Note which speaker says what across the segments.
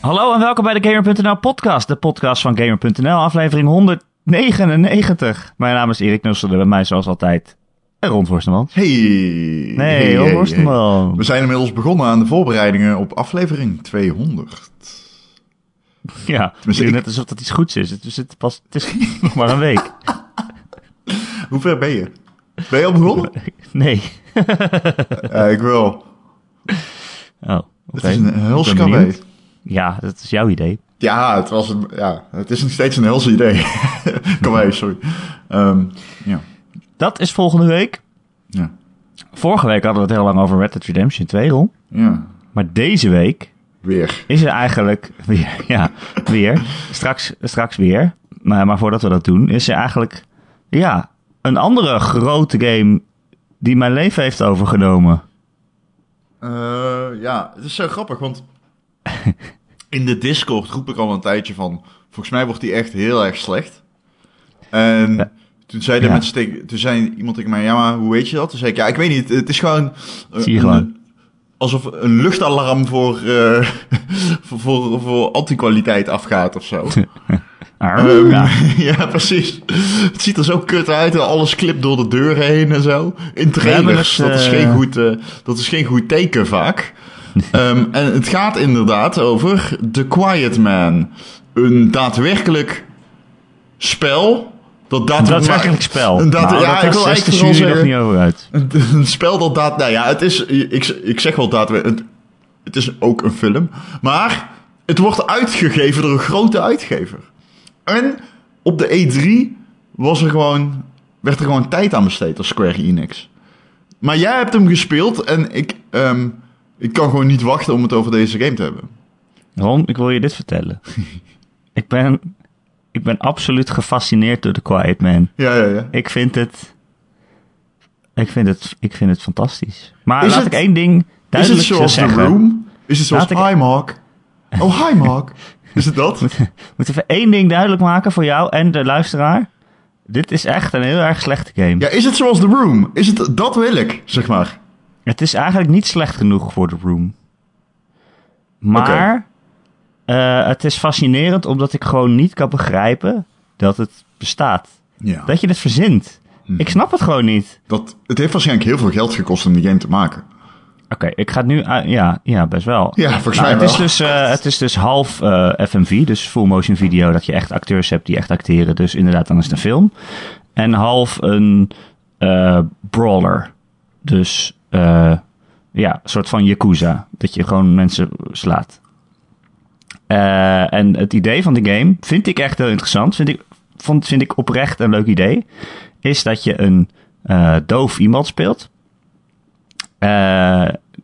Speaker 1: Hallo en welkom bij de Gamer.nl podcast, de podcast van Gamer.nl, aflevering 199. Mijn naam is Erik Nussel en bij mij zoals altijd Ron Forsterman.
Speaker 2: Hey.
Speaker 1: Nee,
Speaker 2: Hey,
Speaker 1: Ron
Speaker 2: hey,
Speaker 1: Forsterman.
Speaker 2: hey. We zijn inmiddels begonnen aan de voorbereidingen op aflevering 200.
Speaker 1: Ja, het is
Speaker 2: ik-
Speaker 1: net alsof dat iets goeds is. Het, is- het, pas, het is nog maar een week.
Speaker 2: Hoe ver ben je? Ben je al begonnen?
Speaker 1: Nee.
Speaker 2: Ja, ik wel.
Speaker 1: Oh, oké.
Speaker 2: Het is een hels
Speaker 1: Ik ben benieuwd.
Speaker 2: KB.
Speaker 1: Ja, dat is jouw idee.
Speaker 2: Ja, het was een, ja, het is nog steeds een hels idee. Kom mee, sorry. Ehm, ja.
Speaker 1: Dat is volgende week.
Speaker 2: Ja.
Speaker 1: Vorige week hadden we het heel lang over Red Dead Redemption 2, Ron.
Speaker 2: ja,
Speaker 1: Maar deze week
Speaker 2: weer.
Speaker 1: is er eigenlijk weer, ja, weer, straks, straks weer, maar, maar voordat we dat doen, is er eigenlijk, ja, een andere grote game die mijn leven heeft overgenomen.
Speaker 2: Eh, ja, het is zo grappig, want in de Discord roep ik al een tijdje van... Volgens mij wordt die echt heel erg slecht. En
Speaker 1: Ja.
Speaker 2: toen zei de
Speaker 1: Ja.
Speaker 2: mensen tegen- toen zei iemand tegen mij, ja, maar hoe weet je dat? Toen zei ik, ja, ik weet niet, het is gewoon... eh,
Speaker 1: Zie je
Speaker 2: een-
Speaker 1: gewoon.
Speaker 2: Alsof een luchtalarm voor, eh, voor, voor, voor antikwaliteit afgaat of zo.
Speaker 1: Arr, nou,
Speaker 2: Ehm,
Speaker 1: ja.
Speaker 2: ja. precies. Het ziet er zo kut uit. en Alles klipt door de deur heen en zo. In
Speaker 1: hebben
Speaker 2: trailers.
Speaker 1: het,
Speaker 2: dat, is
Speaker 1: eh,
Speaker 2: geen goed, eh, dat is geen goed teken vaak. Ehm, en het gaat inderdaad over The Quiet Man. Een daadwerkelijk spel. Dat
Speaker 1: Een
Speaker 2: daadwerkelijk,
Speaker 1: daadwerkelijk spel.
Speaker 2: Een daad-
Speaker 1: Nou,
Speaker 2: ja,
Speaker 1: dat
Speaker 2: ik wil
Speaker 1: was
Speaker 2: eigenlijk
Speaker 1: de
Speaker 2: wel
Speaker 1: jury nog
Speaker 2: zeggen-
Speaker 1: niet over uit.
Speaker 2: een, een spel dat daad... Nou ja, het is... Ik, ik zeg wel daadwerkelijk... Het, het is ook een film. Maar het wordt uitgegeven door een grote uitgever. En op de E3 was er gewoon, werd er gewoon tijd aan besteed als Square Enix. Maar jij hebt hem gespeeld en ik, ehm, ik kan gewoon niet wachten om het over deze game te hebben.
Speaker 1: Ron, ik wil je dit vertellen. ik ben, ik ben absoluut gefascineerd door The Quiet Man.
Speaker 2: Ja, ja, ja.
Speaker 1: Ik vind het, ik vind het, ik vind het fantastisch. Maar
Speaker 2: Is
Speaker 1: laat
Speaker 2: het-
Speaker 1: ik één ding
Speaker 2: Is het
Speaker 1: duidelijk
Speaker 2: zoals The
Speaker 1: zeggen.
Speaker 2: Room? Is het zoals
Speaker 1: Laat ik-
Speaker 2: Hi Mark? Oh, hi Mark. Is het dat?
Speaker 1: Ik moet even één ding duidelijk maken voor jou en de luisteraar. Dit is echt een heel erg slechte game.
Speaker 2: Ja, is het zoals The Room? Is het, dat wil ik, zeg maar.
Speaker 1: Het is eigenlijk niet slecht genoeg voor The Room. Maar eh, het is fascinerend omdat ik gewoon niet kan begrijpen dat het bestaat.
Speaker 2: Ja.
Speaker 1: Dat je het verzint. Ik snap het gewoon niet.
Speaker 2: Dat, het heeft waarschijnlijk heel veel geld gekost om die game te maken.
Speaker 1: Oké, ik ga het nu... uit- ja, ja, best wel.
Speaker 2: Ja, volgens
Speaker 1: Nou,
Speaker 2: mij
Speaker 1: het,
Speaker 2: wel.
Speaker 1: is dus, eh, het is dus half eh, FMV, dus full motion video, dat je echt acteurs hebt die echt acteren. Dus inderdaad, dan is het een film. En half een eh, brawler. Dus eh, ja, een soort van Yakuza. Dat je gewoon mensen slaat. Eh, en het idee van de game vind ik echt heel interessant. Vind ik, vond, vind ik oprecht een leuk idee. Is dat je een eh, doof iemand speelt. Eh,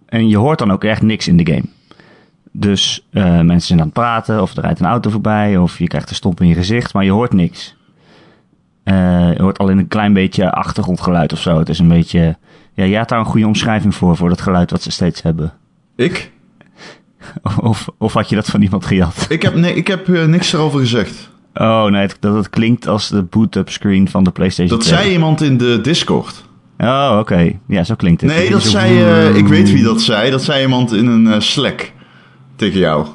Speaker 1: en je hoort dan ook echt niks in de game. Dus eh, mensen zijn aan het praten, of er rijdt een auto voorbij, of je krijgt een stomp in je gezicht, maar je hoort niks. Eh, je hoort alleen een klein beetje achtergrondgeluid of zo. Het is een beetje. Ja, jij had daar een goede omschrijving voor, voor dat geluid wat ze steeds hebben.
Speaker 2: Ik?
Speaker 1: Of, of had je dat van iemand gejat?
Speaker 2: Ik heb, nee, ik heb eh, niks erover gezegd.
Speaker 1: Oh nee, het- dat het klinkt als de boot-up screen van de PlayStation
Speaker 2: Dat
Speaker 1: 2.
Speaker 2: zei iemand in de Discord.
Speaker 1: Oh, oké. Ja, zo klinkt het.
Speaker 2: Nee, dat
Speaker 1: klinkt zo-
Speaker 2: zei... eh, ik weet wie dat zei. Dat zei iemand in een eh, Slack. Tegen jou.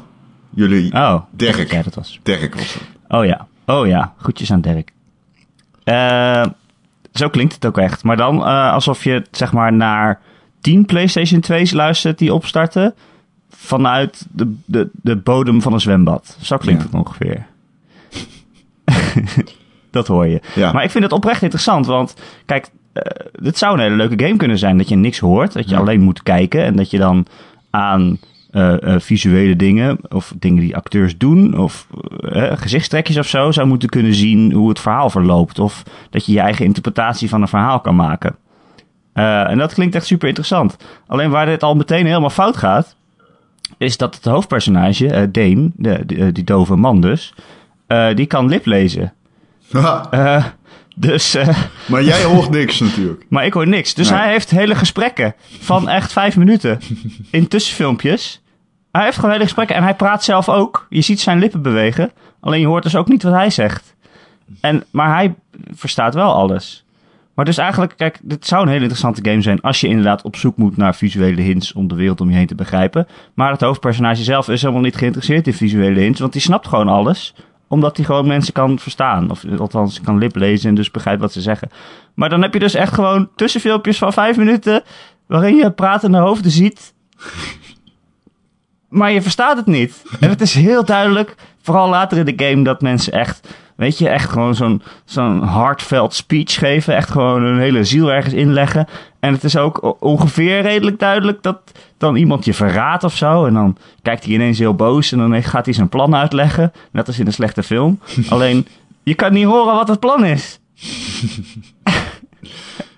Speaker 2: Jullie...
Speaker 1: Oh,
Speaker 2: Dirk.
Speaker 1: Ja, dat was.
Speaker 2: Dirk was dat.
Speaker 1: Oh ja, oh ja, groetjes aan Dirk. Eh, zo klinkt het ook echt. Maar dan eh, alsof je zeg maar naar 10 PlayStation 2's luistert die opstarten vanuit de, de, de bodem van een zwembad. Zo klinkt
Speaker 2: Ja.
Speaker 1: het ongeveer. dat hoor je.
Speaker 2: Ja.
Speaker 1: Maar ik vind het oprecht interessant, want kijk, eh, dit zou een hele leuke game kunnen zijn. Dat je niks hoort, dat je
Speaker 2: Ja.
Speaker 1: alleen moet kijken en dat je dan aan eh, eh, visuele dingen of dingen die acteurs doen of eh, gezichtstrekjes of zo zou moeten kunnen zien hoe het verhaal verloopt. Of dat je je eigen interpretatie van een verhaal kan maken. Eh, en dat klinkt echt super interessant. Alleen waar dit al meteen helemaal fout gaat, is dat het hoofdpersonage, eh, Dane, de, de- eh, die dove man dus, eh, die kan lip lezen.
Speaker 2: Haha,
Speaker 1: Eh, dus, eh,
Speaker 2: maar jij hoort niks natuurlijk.
Speaker 1: maar ik hoor niks. Dus
Speaker 2: Nee.
Speaker 1: hij heeft hele gesprekken van echt vijf minuten in tussenfilmpjes. Hij heeft gewoon hele gesprekken en hij praat zelf ook. Je ziet zijn lippen bewegen, alleen je hoort dus ook niet wat hij zegt. En, maar hij verstaat wel alles. Maar dus eigenlijk, kijk, dit zou een hele interessante game zijn als je inderdaad op zoek moet naar visuele hints om de wereld om je heen te begrijpen. Maar het hoofdpersonage zelf is helemaal niet geïnteresseerd in visuele hints, want die snapt gewoon alles omdat hij gewoon mensen kan verstaan. Of althans kan liplezen en dus begrijpt wat ze zeggen. Maar dan heb je dus echt gewoon tussenfilmpjes van vijf minuten. waarin je pratende hoofden ziet. maar je verstaat het niet. En het is heel duidelijk, vooral later in de game, dat mensen echt. Weet je, echt gewoon zo'n zo'n heartfelt speech geven. Echt gewoon hun hele ziel ergens inleggen. En het is ook o- ongeveer redelijk duidelijk dat dan iemand je verraadt of zo. En dan kijkt hij ineens heel boos en dan gaat hij zijn plan uitleggen. Net als in een slechte film. Alleen, je kan niet horen wat het plan is.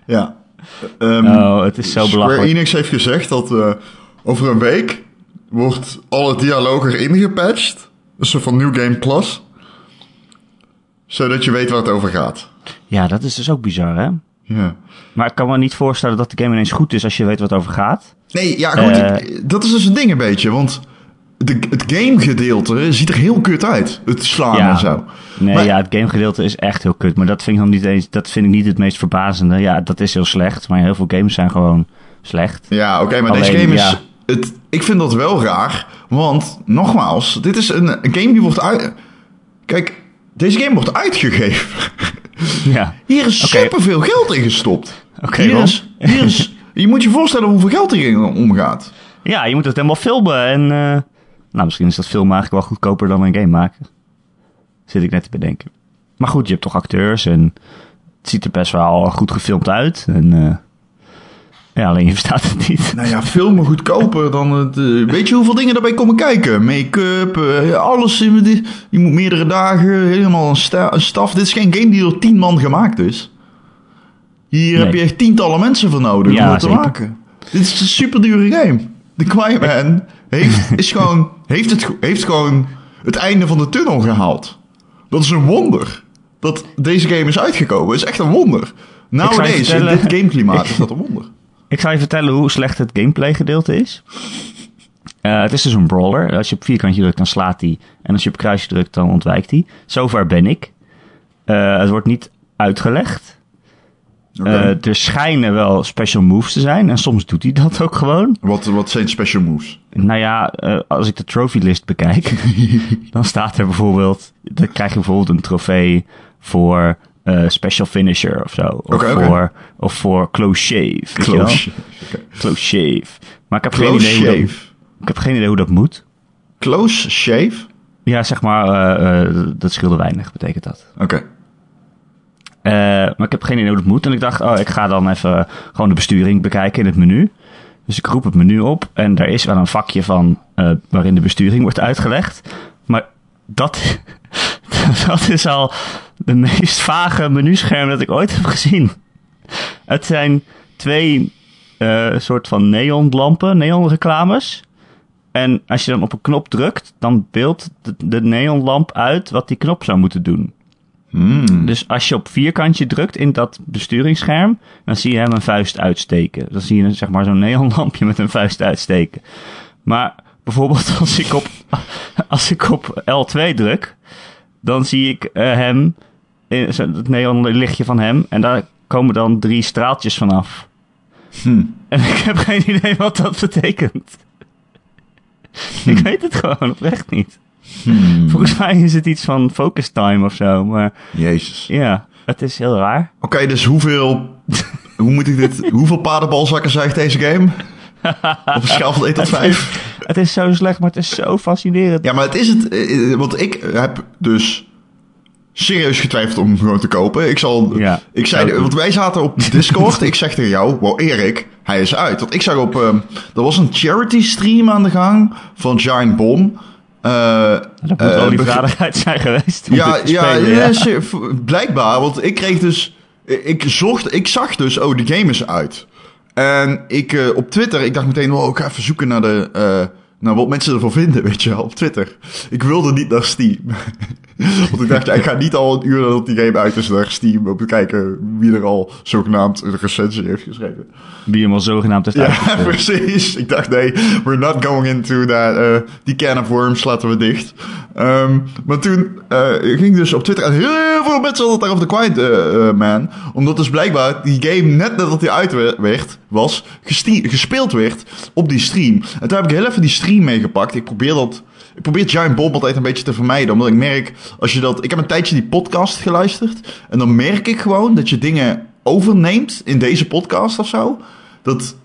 Speaker 2: Ja. Ehm,
Speaker 1: Oh, het is zo
Speaker 2: Square
Speaker 1: belachelijk.
Speaker 2: Enix heeft gezegd dat eh, over een week wordt alle dialoog erin gepatcht. Een soort van New Game Plus. Zodat je weet waar het over gaat.
Speaker 1: Ja, dat is dus ook bizar, hè?
Speaker 2: Ja.
Speaker 1: Maar ik kan me niet voorstellen dat de game ineens goed is als je weet wat het over gaat.
Speaker 2: Nee, ja, goed.
Speaker 1: Eh.
Speaker 2: ik- dat is dus een ding een beetje. Want de, het gamegedeelte ziet er heel kut uit. Het slaan
Speaker 1: Ja.
Speaker 2: en zo.
Speaker 1: Nee,
Speaker 2: Maar-
Speaker 1: ja, het gamegedeelte is echt heel kut. Maar dat vind ik dan niet eens. Dat vind ik niet het meest verbazende. Ja, dat is heel slecht. Maar heel veel games zijn gewoon slecht.
Speaker 2: Ja, oké, maar
Speaker 1: Alleen,
Speaker 2: deze game is...
Speaker 1: ja.
Speaker 2: Het, ik vind dat wel raar, want nogmaals, dit is een, een game die wordt uit... Kijk, deze game wordt uitgegeven.
Speaker 1: Ja.
Speaker 2: Hier is
Speaker 1: Oké.
Speaker 2: superveel geld in gestopt.
Speaker 1: Oké,
Speaker 2: hier
Speaker 1: Ron.
Speaker 2: is, hier is, je moet je voorstellen hoeveel geld hierin omgaat.
Speaker 1: Ja, je moet het helemaal filmen. En eh, nou, misschien is dat filmen eigenlijk wel goedkoper dan een game maken. Zit ik net te bedenken. Maar goed, je hebt toch acteurs en het ziet er best wel goed gefilmd uit. En eh, ja, alleen je verstaat het niet.
Speaker 2: Nou ja, filmen goedkoper dan het... eh, weet je hoeveel dingen daarbij komen kijken? Make-up, eh, alles. in die- Je moet meerdere dagen, helemaal een, sta- een staf. Dit is geen game die door tien man gemaakt is. Hier
Speaker 1: Nee.
Speaker 2: heb je echt tientallen mensen voor nodig
Speaker 1: Ja,
Speaker 2: om dat te
Speaker 1: zeker.
Speaker 2: maken. Dit is een super dure game. The Quiet Man heeft, is gewoon, heeft, het, go- heeft gewoon het einde van de tunnel gehaald. Dat is een wonder. Dat deze game is uitgekomen. is echt een wonder. Nowadays, in
Speaker 1: vertellen-
Speaker 2: dit gameklimaat is dat een wonder.
Speaker 1: Ik zal je vertellen hoe slecht het gameplay gedeelte is. Eh, het is dus een brawler. Als je op vierkantje drukt, dan slaat hij. En als je op kruisje drukt, dan ontwijkt hij. Zover ben ik. Eh, het wordt niet uitgelegd.
Speaker 2: Oké.
Speaker 1: Eh, er schijnen wel special moves te zijn. En soms doet hij dat ook gewoon.
Speaker 2: Wat, wat zijn special moves?
Speaker 1: Nou ja, eh, als ik de trophy list bekijk, dan staat er bijvoorbeeld, dan krijg je bijvoorbeeld een trofee voor eh, special finisher of zo. Of
Speaker 2: Oké, oké.
Speaker 1: voor, of voor close shave. weet je wel?
Speaker 2: Close,
Speaker 1: Close shave. Maar ik heb, geen
Speaker 2: close
Speaker 1: idee hoe
Speaker 2: shave.
Speaker 1: dat, ik heb geen idee hoe dat moet.
Speaker 2: Close shave?
Speaker 1: Ja, zeg maar, eh, eh, dat scheelde weinig, betekent dat.
Speaker 2: Oké.
Speaker 1: Eh, maar ik heb geen idee hoe dat moet. En ik dacht, oh, ik ga dan even gewoon de besturing bekijken in het menu. Dus ik roep het menu op en daar is wel een vakje van eh, waarin de besturing wordt uitgelegd. Maar dat, dat is al de meest vage menuscherm dat ik ooit heb gezien. Het zijn twee eh soort van neonlampen, neonreclames. En als je dan op een knop drukt, dan beeldt de, de neonlamp uit wat die knop zou moeten doen.
Speaker 2: Hmm.
Speaker 1: Dus als je op vierkantje drukt in dat besturingsscherm, dan zie je hem een vuist uitsteken. Dan zie je een, zeg maar zo'n neonlampje met een vuist uitsteken. Maar bijvoorbeeld als ik op, als ik op L2 druk, dan zie ik eh, hem, eh, zo- het neonlichtje van hem, en daar komen dan drie straaltjes vanaf.
Speaker 2: Hm.
Speaker 1: En ik heb geen idee wat dat betekent. Ik weet het gewoon oprecht niet.
Speaker 2: Hmm.
Speaker 1: Volgens mij is het iets van focus time of zo, maar
Speaker 2: Jezus.
Speaker 1: ja, het is heel raar.
Speaker 2: Oké, dus hoeveel... hoe moet ik dit... Hoeveel paardenbalzakken zegt deze game? Op een schaal van 1 tot 5?
Speaker 1: Het is zo slecht, maar het is zo fascinerend.
Speaker 2: Ja, maar het is het. eh, eh, Want ik heb dus serieus getwijfeld om hem gewoon te kopen. Ik zal.
Speaker 1: Ja,
Speaker 2: ik zei,
Speaker 1: ook.
Speaker 2: want wij zaten op Discord. ik zeg tegen jou, wow, Erik, hij is uit. Want ik zag op. ehm er was een charity stream aan de gang van Giant Bomb. Eh,
Speaker 1: Dat moet
Speaker 2: eh,
Speaker 1: wel die
Speaker 2: beg-
Speaker 1: vaderheid zijn geweest. om
Speaker 2: ja,
Speaker 1: dit te
Speaker 2: ja,
Speaker 1: spelen,
Speaker 2: ja, ze- v- blijkbaar. Want ik kreeg dus. ik- Ik, zocht, ik zag dus, oh, de game is uit. En ik eh, op Twitter, ik dacht meteen, wow, ik ga even zoeken naar, de, eh, naar wat mensen ervan vinden, weet je wel, op Twitter. Ik wilde niet naar Steam. Want ik dacht, ja, ik ga niet al een uur dat die game uit is naar Steam om te kijken wie er al zogenaamd een recensie heeft geschreven.
Speaker 1: Die hem al zogenaamd heeft
Speaker 2: Ja,
Speaker 1: uitgespeeld.
Speaker 2: precies. Ik dacht, nee, we're not going into that. eh, die can of worms laten we dicht. Ehm, maar toen eh, ging dus op Twitter heel heel veel mensen hadden het daarover The Quiet eh, eh, Man. Omdat dus blijkbaar die game, net nadat hij uit we- werd, was, gestie- gespeeld werd op die stream. En toen heb ik heel even die stream meegepakt. Ik probeer dat... Ik probeer Giant Bomb altijd een beetje te vermijden. Omdat ik merk, als je dat... Ik heb een tijdje die podcast geluisterd. En dan merk ik gewoon dat je dingen overneemt in deze podcast of zo. Dat...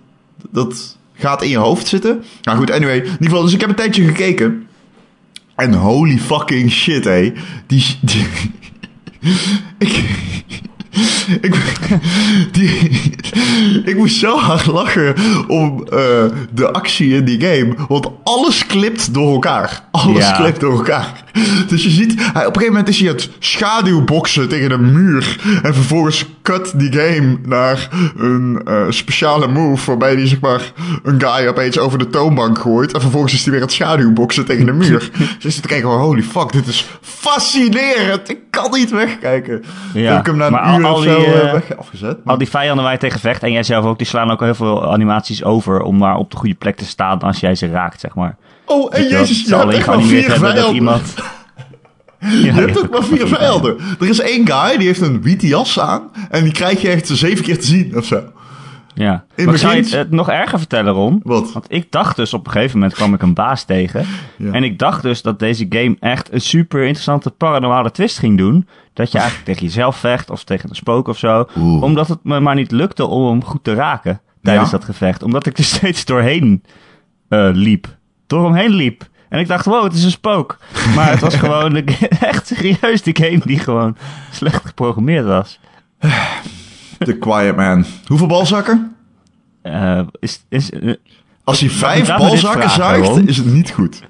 Speaker 2: dat gaat in je hoofd zitten. Nou goed, anyway. In ieder geval, dus ik heb een tijdje gekeken. En holy fucking shit, hé. Die. die ik. Ik, die, ik moest zo hard lachen om eh, de actie in die game. Want alles klipt door elkaar. Alles
Speaker 1: Ja.
Speaker 2: klipt door elkaar. Dus je ziet, hij, op een gegeven moment is hij het schaduwboksen tegen een muur. En vervolgens cut die game naar een eh, speciale move. Waarbij hij zeg maar een guy opeens over de toonbank gooit. En vervolgens is hij weer het schaduwboksen tegen de muur. dus je zit te kijken, van, holy fuck, dit is fascinerend. Ik kan niet wegkijken.
Speaker 1: Ja,
Speaker 2: Heb ik hem na
Speaker 1: maar al-
Speaker 2: een uur
Speaker 1: al
Speaker 2: of
Speaker 1: die,
Speaker 2: zo eh,
Speaker 1: eh,
Speaker 2: weg afgezet.
Speaker 1: Al die vijanden waar je tegen vecht en jijzelf ook, die slaan ook heel veel animaties over om maar op de goede plek te staan als jij ze raakt, zeg maar.
Speaker 2: oh, en
Speaker 1: Weet je wel,
Speaker 2: jezus,
Speaker 1: het
Speaker 2: je
Speaker 1: zal
Speaker 2: hebt echt maar
Speaker 1: geanimeerd
Speaker 2: vier
Speaker 1: hebben dat
Speaker 2: vijanden.
Speaker 1: iemand. Ja,
Speaker 2: Je hebt ook maar vier velden. Er is één guy die heeft een witte jas aan. En die krijg je echt zeven keer te zien of zo.
Speaker 1: Ja.
Speaker 2: In
Speaker 1: maar ik zou je het,
Speaker 2: begin-
Speaker 1: het nog erger vertellen, Ron?
Speaker 2: Wat?
Speaker 1: Want ik dacht dus op een gegeven moment kwam ik een baas tegen.
Speaker 2: Ja.
Speaker 1: En ik dacht dus dat deze game echt een super interessante paranormale twist ging doen. Dat je eigenlijk tegen jezelf vecht of tegen een spook of zo.
Speaker 2: Oeh.
Speaker 1: Omdat het me maar niet lukte om hem goed te raken tijdens
Speaker 2: Ja.
Speaker 1: dat gevecht. Omdat ik er steeds doorheen eh, liep. Door hem heen liep. En ik dacht, wow, het is een spook. Maar het was gewoon de ge- echt serieus de game die gewoon slecht geprogrammeerd was.
Speaker 2: The Quiet Man. Hoeveel balzakken?
Speaker 1: Eh, is, is, eh,
Speaker 2: Als hij vijf
Speaker 1: laat me dit
Speaker 2: balzakken
Speaker 1: vragen,
Speaker 2: zuigt,
Speaker 1: Ron.
Speaker 2: is het niet goed.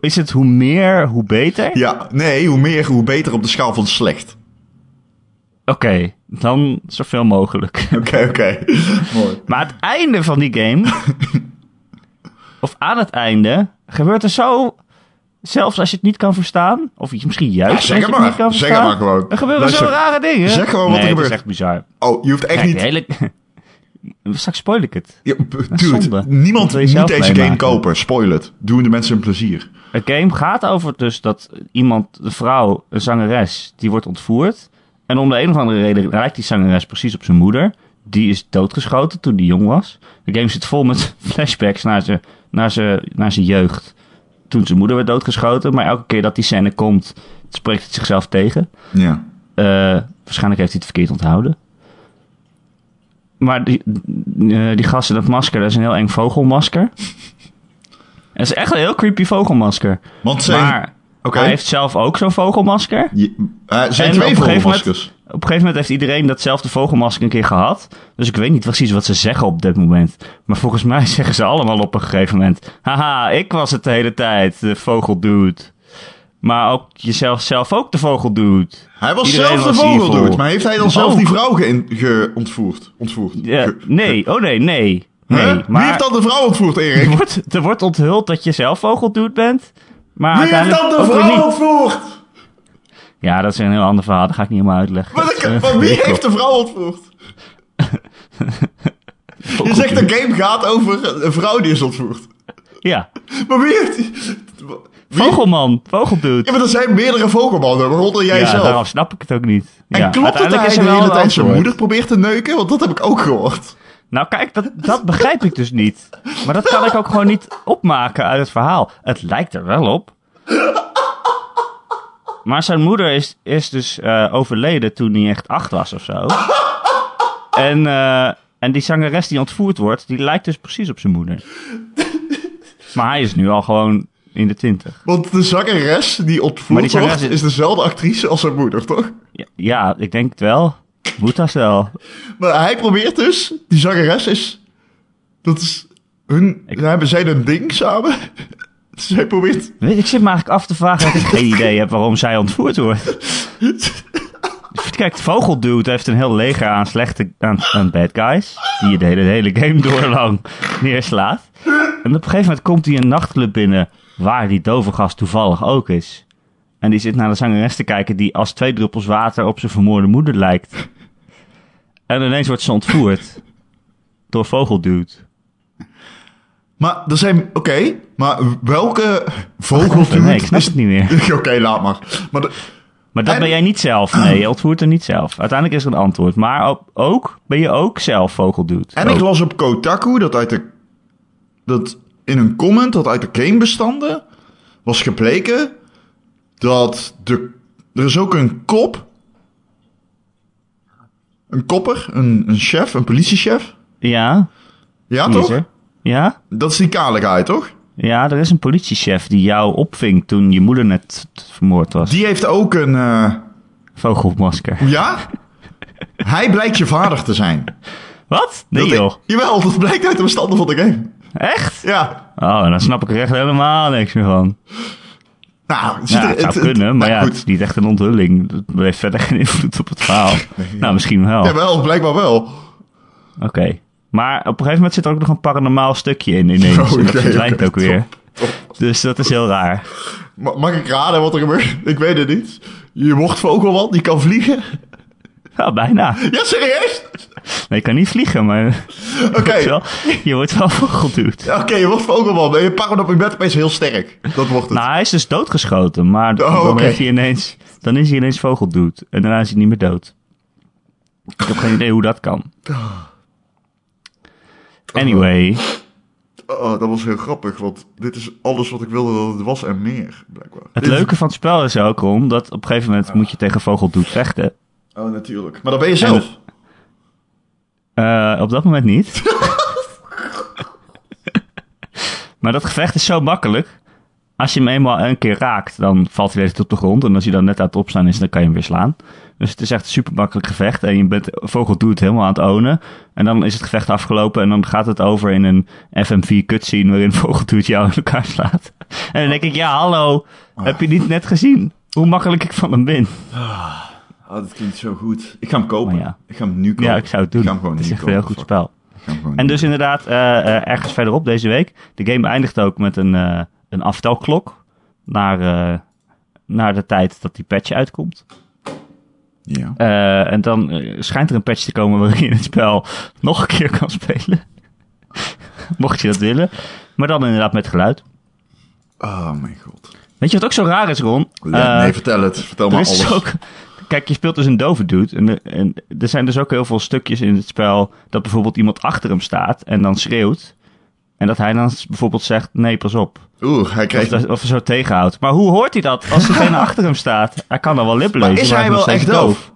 Speaker 1: is het hoe meer, hoe beter?
Speaker 2: Ja, nee, hoe meer, hoe beter op de schaal van slecht.
Speaker 1: Oké, dan zoveel mogelijk.
Speaker 2: Oké, oké. Mooi.
Speaker 1: Maar het einde van die game, of aan het einde, gebeurt er zo. Zelfs als je het niet kan verstaan, of misschien juist.
Speaker 2: zeg
Speaker 1: als je
Speaker 2: het
Speaker 1: het
Speaker 2: maar.
Speaker 1: niet kan
Speaker 2: Zeg
Speaker 1: verstaan,
Speaker 2: het maar gewoon.
Speaker 1: Er gebeuren
Speaker 2: Luister.
Speaker 1: zo rare dingen.
Speaker 2: Zeg gewoon wat er
Speaker 1: Nee, het
Speaker 2: gebeurt.
Speaker 1: is echt bizar.
Speaker 2: Oh, je hoeft echt
Speaker 1: Kijk,
Speaker 2: niet...
Speaker 1: de hele... Straks spoil ik het.
Speaker 2: Ja, b- dude,
Speaker 1: zonde. Dat
Speaker 2: niemand
Speaker 1: wil je
Speaker 2: moet
Speaker 1: zelf
Speaker 2: deze game
Speaker 1: meemaken.
Speaker 2: kopen. Spoil het. Doen de mensen een plezier.
Speaker 1: Het game gaat over dus dat iemand, een vrouw, een zangeres, die wordt ontvoerd. En om de een of andere reden lijkt die zangeres precies op zijn moeder. Die is doodgeschoten toen die jong was. De game zit vol met flashbacks naar zijn naar ze, naar ze jeugd. Toen zijn moeder werd doodgeschoten. Maar elke keer dat die scène komt, spreekt het zichzelf tegen.
Speaker 2: Ja.
Speaker 1: Eh, waarschijnlijk heeft hij het verkeerd onthouden. Maar die, eh, die gast in dat masker, dat is een heel eng vogelmasker. Het is echt een heel creepy vogelmasker.
Speaker 2: Want zijn...
Speaker 1: Maar
Speaker 2: Oké.
Speaker 1: hij heeft zelf ook zo'n vogelmasker.
Speaker 2: Je- eh, zijn
Speaker 1: En
Speaker 2: twee
Speaker 1: op een gegeven
Speaker 2: vogelmaskers.
Speaker 1: Op een gegeven moment heeft iedereen datzelfde vogelmasker een keer gehad. Dus ik weet niet precies wat ze zeggen op dit moment. Maar volgens mij zeggen ze allemaal op een gegeven moment... Haha, ik was het de hele tijd, de vogeldude. Maar ook jezelf zelf ook de vogeldude.
Speaker 2: Hij was
Speaker 1: Iedereen
Speaker 2: zelf de
Speaker 1: was
Speaker 2: vogel,
Speaker 1: evil.
Speaker 2: dude. Maar heeft hij dan zelf
Speaker 1: Ook.
Speaker 2: die vrouw geïn- ge- ontvoerd? Ontvoerd.
Speaker 1: Ja,
Speaker 2: Ge-
Speaker 1: nee, oh nee, nee. Nee,
Speaker 2: Hè? Wie
Speaker 1: maar
Speaker 2: heeft dan de vrouw ontvoerd, Erik?
Speaker 1: er, wordt, er wordt onthuld dat je zelf vogeldude bent. Maar
Speaker 2: Wie heeft
Speaker 1: uiteindelijk
Speaker 2: dan de
Speaker 1: ook weer
Speaker 2: vrouw
Speaker 1: niet.
Speaker 2: ontvoerd?
Speaker 1: Ja, dat is een heel ander verhaal. Dat ga ik niet helemaal uitleggen.
Speaker 2: Maar,
Speaker 1: Dat is, eh,
Speaker 2: dat- maar wie
Speaker 1: ingewikkeld.
Speaker 2: heeft de vrouw ontvoerd? Je zegt de game gaat over een vrouw die is ontvoerd.
Speaker 1: Ja,
Speaker 2: Maar wie heeft... die- Wie?
Speaker 1: vogelman, vogeldude.
Speaker 2: Ja, maar er zijn meerdere vogelmannen, waaronder jij
Speaker 1: ja,
Speaker 2: zelf.
Speaker 1: daarom snap ik het ook niet.
Speaker 2: En
Speaker 1: ja.
Speaker 2: klopt het dat
Speaker 1: uiteindelijk
Speaker 2: hij
Speaker 1: is
Speaker 2: de
Speaker 1: er wel
Speaker 2: hele
Speaker 1: een
Speaker 2: tijd zijn
Speaker 1: antwoord.
Speaker 2: moeder probeert te neuken? Want dat heb ik ook gehoord.
Speaker 1: Nou kijk, dat, dat begrijp ik dus niet. Maar dat kan ik ook gewoon niet opmaken uit het verhaal. Het lijkt er wel op. Maar zijn moeder is, is dus eh, overleden toen hij echt acht was of zo. En, eh, en die zangeres die ontvoerd wordt, die lijkt dus precies op zijn moeder. Maar hij is nu al gewoon in de twintig.
Speaker 2: Want de zangeres die
Speaker 1: Maar
Speaker 2: ontvoerd
Speaker 1: die zangeres
Speaker 2: wordt,
Speaker 1: is-
Speaker 2: is dezelfde actrice als zijn moeder, toch?
Speaker 1: Ja, ja, ik denk het wel. Moet dat wel.
Speaker 2: Maar hij probeert dus, die zangeres is. Dat is. Hun,
Speaker 1: Ik-
Speaker 2: Zij hebben zij een ding samen. Dus hij probeert.
Speaker 1: Weet, ik zit me eigenlijk af te vragen dat ik geen idee heb waarom zij ontvoerd wordt. Kijk, Vogeldude heeft een heel leger aan slechte aan, aan bad guys. Die je de hele, de hele game door lang neerslaat. En op een gegeven moment komt hij een nachtclub binnen waar die dove gast toevallig ook is. En die zit naar de zangeres te kijken die als twee druppels water op zijn vermoorde moeder lijkt. En ineens wordt ze ontvoerd. Door Vogeldude.
Speaker 2: Maar er zijn. Oké, maar welke
Speaker 1: Nee, ik
Speaker 2: vogeldude
Speaker 1: snap
Speaker 2: is.
Speaker 1: het niet meer.
Speaker 2: Oké, laat maar. Maar de-
Speaker 1: Maar dat
Speaker 2: En-
Speaker 1: ben jij niet zelf. Nee, je ontvoert hem niet zelf. Uiteindelijk is er een antwoord. Maar ook, ook ben je ook zelf vogeldude.
Speaker 2: En ik las op Kotaku dat uit de. Dat in een comment dat uit de claimbestanden was gebleken dat de. Er is ook een kop. Een kopper, een, een chef, een politiechef.
Speaker 1: Ja,
Speaker 2: Ja,
Speaker 1: die is
Speaker 2: Ah, toch?
Speaker 1: er. Ja?
Speaker 2: Dat is die kale guy, toch?
Speaker 1: Ja, er is een politiechef die jou opving toen je moeder net t- vermoord was.
Speaker 2: Die heeft ook een. eh,
Speaker 1: Vogelmasker.
Speaker 2: ja? Hij blijkt je vader te zijn.
Speaker 1: Wat? Nee
Speaker 2: dat,
Speaker 1: joh.
Speaker 2: Jawel, dat blijkt uit de bestanden van de game.
Speaker 1: Echt?
Speaker 2: Ja.
Speaker 1: Oh, dan snap ik er echt helemaal niks meer van.
Speaker 2: Nou, het ziet
Speaker 1: Ja,
Speaker 2: er-
Speaker 1: het zou
Speaker 2: het- het-
Speaker 1: kunnen, maar
Speaker 2: nou,
Speaker 1: ja, het is niet echt een onthulling. Dat heeft verder geen invloed op het verhaal. Nou, misschien wel.
Speaker 2: Jawel, blijkbaar wel.
Speaker 1: Oké. Maar op een gegeven moment zit er ook nog een paranormaal stukje in ineens.
Speaker 2: Oh,
Speaker 1: En dat
Speaker 2: oké,
Speaker 1: verdwijnt
Speaker 2: oké,
Speaker 1: ook weer.
Speaker 2: top,
Speaker 1: Dus dat is heel raar.
Speaker 2: Ma- Mag ik raden wat er gebeurt? Ik weet het niet. Je wordt vogelman, die kan vliegen.
Speaker 1: Ja, bijna.
Speaker 2: Ja, serieus?
Speaker 1: Nee, je kan niet vliegen, maar
Speaker 2: Oké,
Speaker 1: wel, je wordt wel vogelduwd.
Speaker 2: Ja, oké, je wordt vogelman. En je parent op je bed opeens heel sterk. Dat wordt het.
Speaker 1: Nou, hij is dus doodgeschoten, maar dan,
Speaker 2: Oh, oké.
Speaker 1: heeft hij ineens, dan is hij ineens vogelduwd. En daarna is hij niet meer dood. Ik heb geen idee hoe dat kan. Anyway,
Speaker 2: Oh, dat was heel grappig, want dit is alles wat ik wilde dat het was en meer, blijkbaar.
Speaker 1: het
Speaker 2: Dit-
Speaker 1: leuke van het spel is ook om dat op een gegeven moment moet je tegen vogelduwd vechten.
Speaker 2: Oh, natuurlijk. Maar dat ben je zelf.
Speaker 1: Eh, op dat moment niet. maar dat gevecht is zo makkelijk. Als je hem eenmaal een keer raakt, dan valt hij weer tot op de grond. En als hij dan net aan het opstaan is, dan kan je hem weer slaan. Dus het is echt een super makkelijk gevecht. En je bent Vogel doet het helemaal aan het ownen. En dan is het gevecht afgelopen. En dan gaat het over in een FMV cutscene waarin Vogel doet jou in elkaar slaat. En dan denk ik, ja hallo,
Speaker 2: Ah.
Speaker 1: heb je niet net gezien hoe makkelijk ik van hem ben?
Speaker 2: Oh, dat klinkt zo goed. Ik ga hem kopen.
Speaker 1: Maar ja.
Speaker 2: Ik ga hem nu kopen.
Speaker 1: Ja, ik zou het doen.
Speaker 2: Ik ga hem gewoon
Speaker 1: het is
Speaker 2: nu
Speaker 1: echt een heel
Speaker 2: kopen.
Speaker 1: goed
Speaker 2: Fuck.
Speaker 1: spel.
Speaker 2: Ik ga hem gewoon
Speaker 1: En
Speaker 2: nu
Speaker 1: dus inderdaad, eh, eh, ergens verderop deze week. De game eindigt ook met een, eh, een aftelklok. Naar, eh, naar de tijd dat die patch uitkomt.
Speaker 2: kopen. Ja.
Speaker 1: Eh, en dan eh, schijnt er een patch te komen waarin je het spel nog een keer kan spelen. Mocht je dat willen. Maar dan inderdaad met geluid.
Speaker 2: Oh, mijn god.
Speaker 1: Weet je wat ook zo raar is, Ron?
Speaker 2: Ja,
Speaker 1: Eh,
Speaker 2: nee, vertel het. Vertel maar
Speaker 1: er is dus
Speaker 2: alles.
Speaker 1: ook. Kijk, je speelt dus een dove dude. En, en er zijn dus ook heel veel stukjes in het spel. dat bijvoorbeeld iemand achter hem staat en dan schreeuwt. En dat hij dan bijvoorbeeld zegt: nee, pas op.
Speaker 2: Oeh, hij
Speaker 1: Of,
Speaker 2: krijgt...
Speaker 1: dat- of zo tegenhoudt. Maar hoe hoort hij dat als diegene achter hem staat? Hij kan dan wel lip lezen.
Speaker 2: is hij
Speaker 1: nog
Speaker 2: wel
Speaker 1: steeds
Speaker 2: echt doof?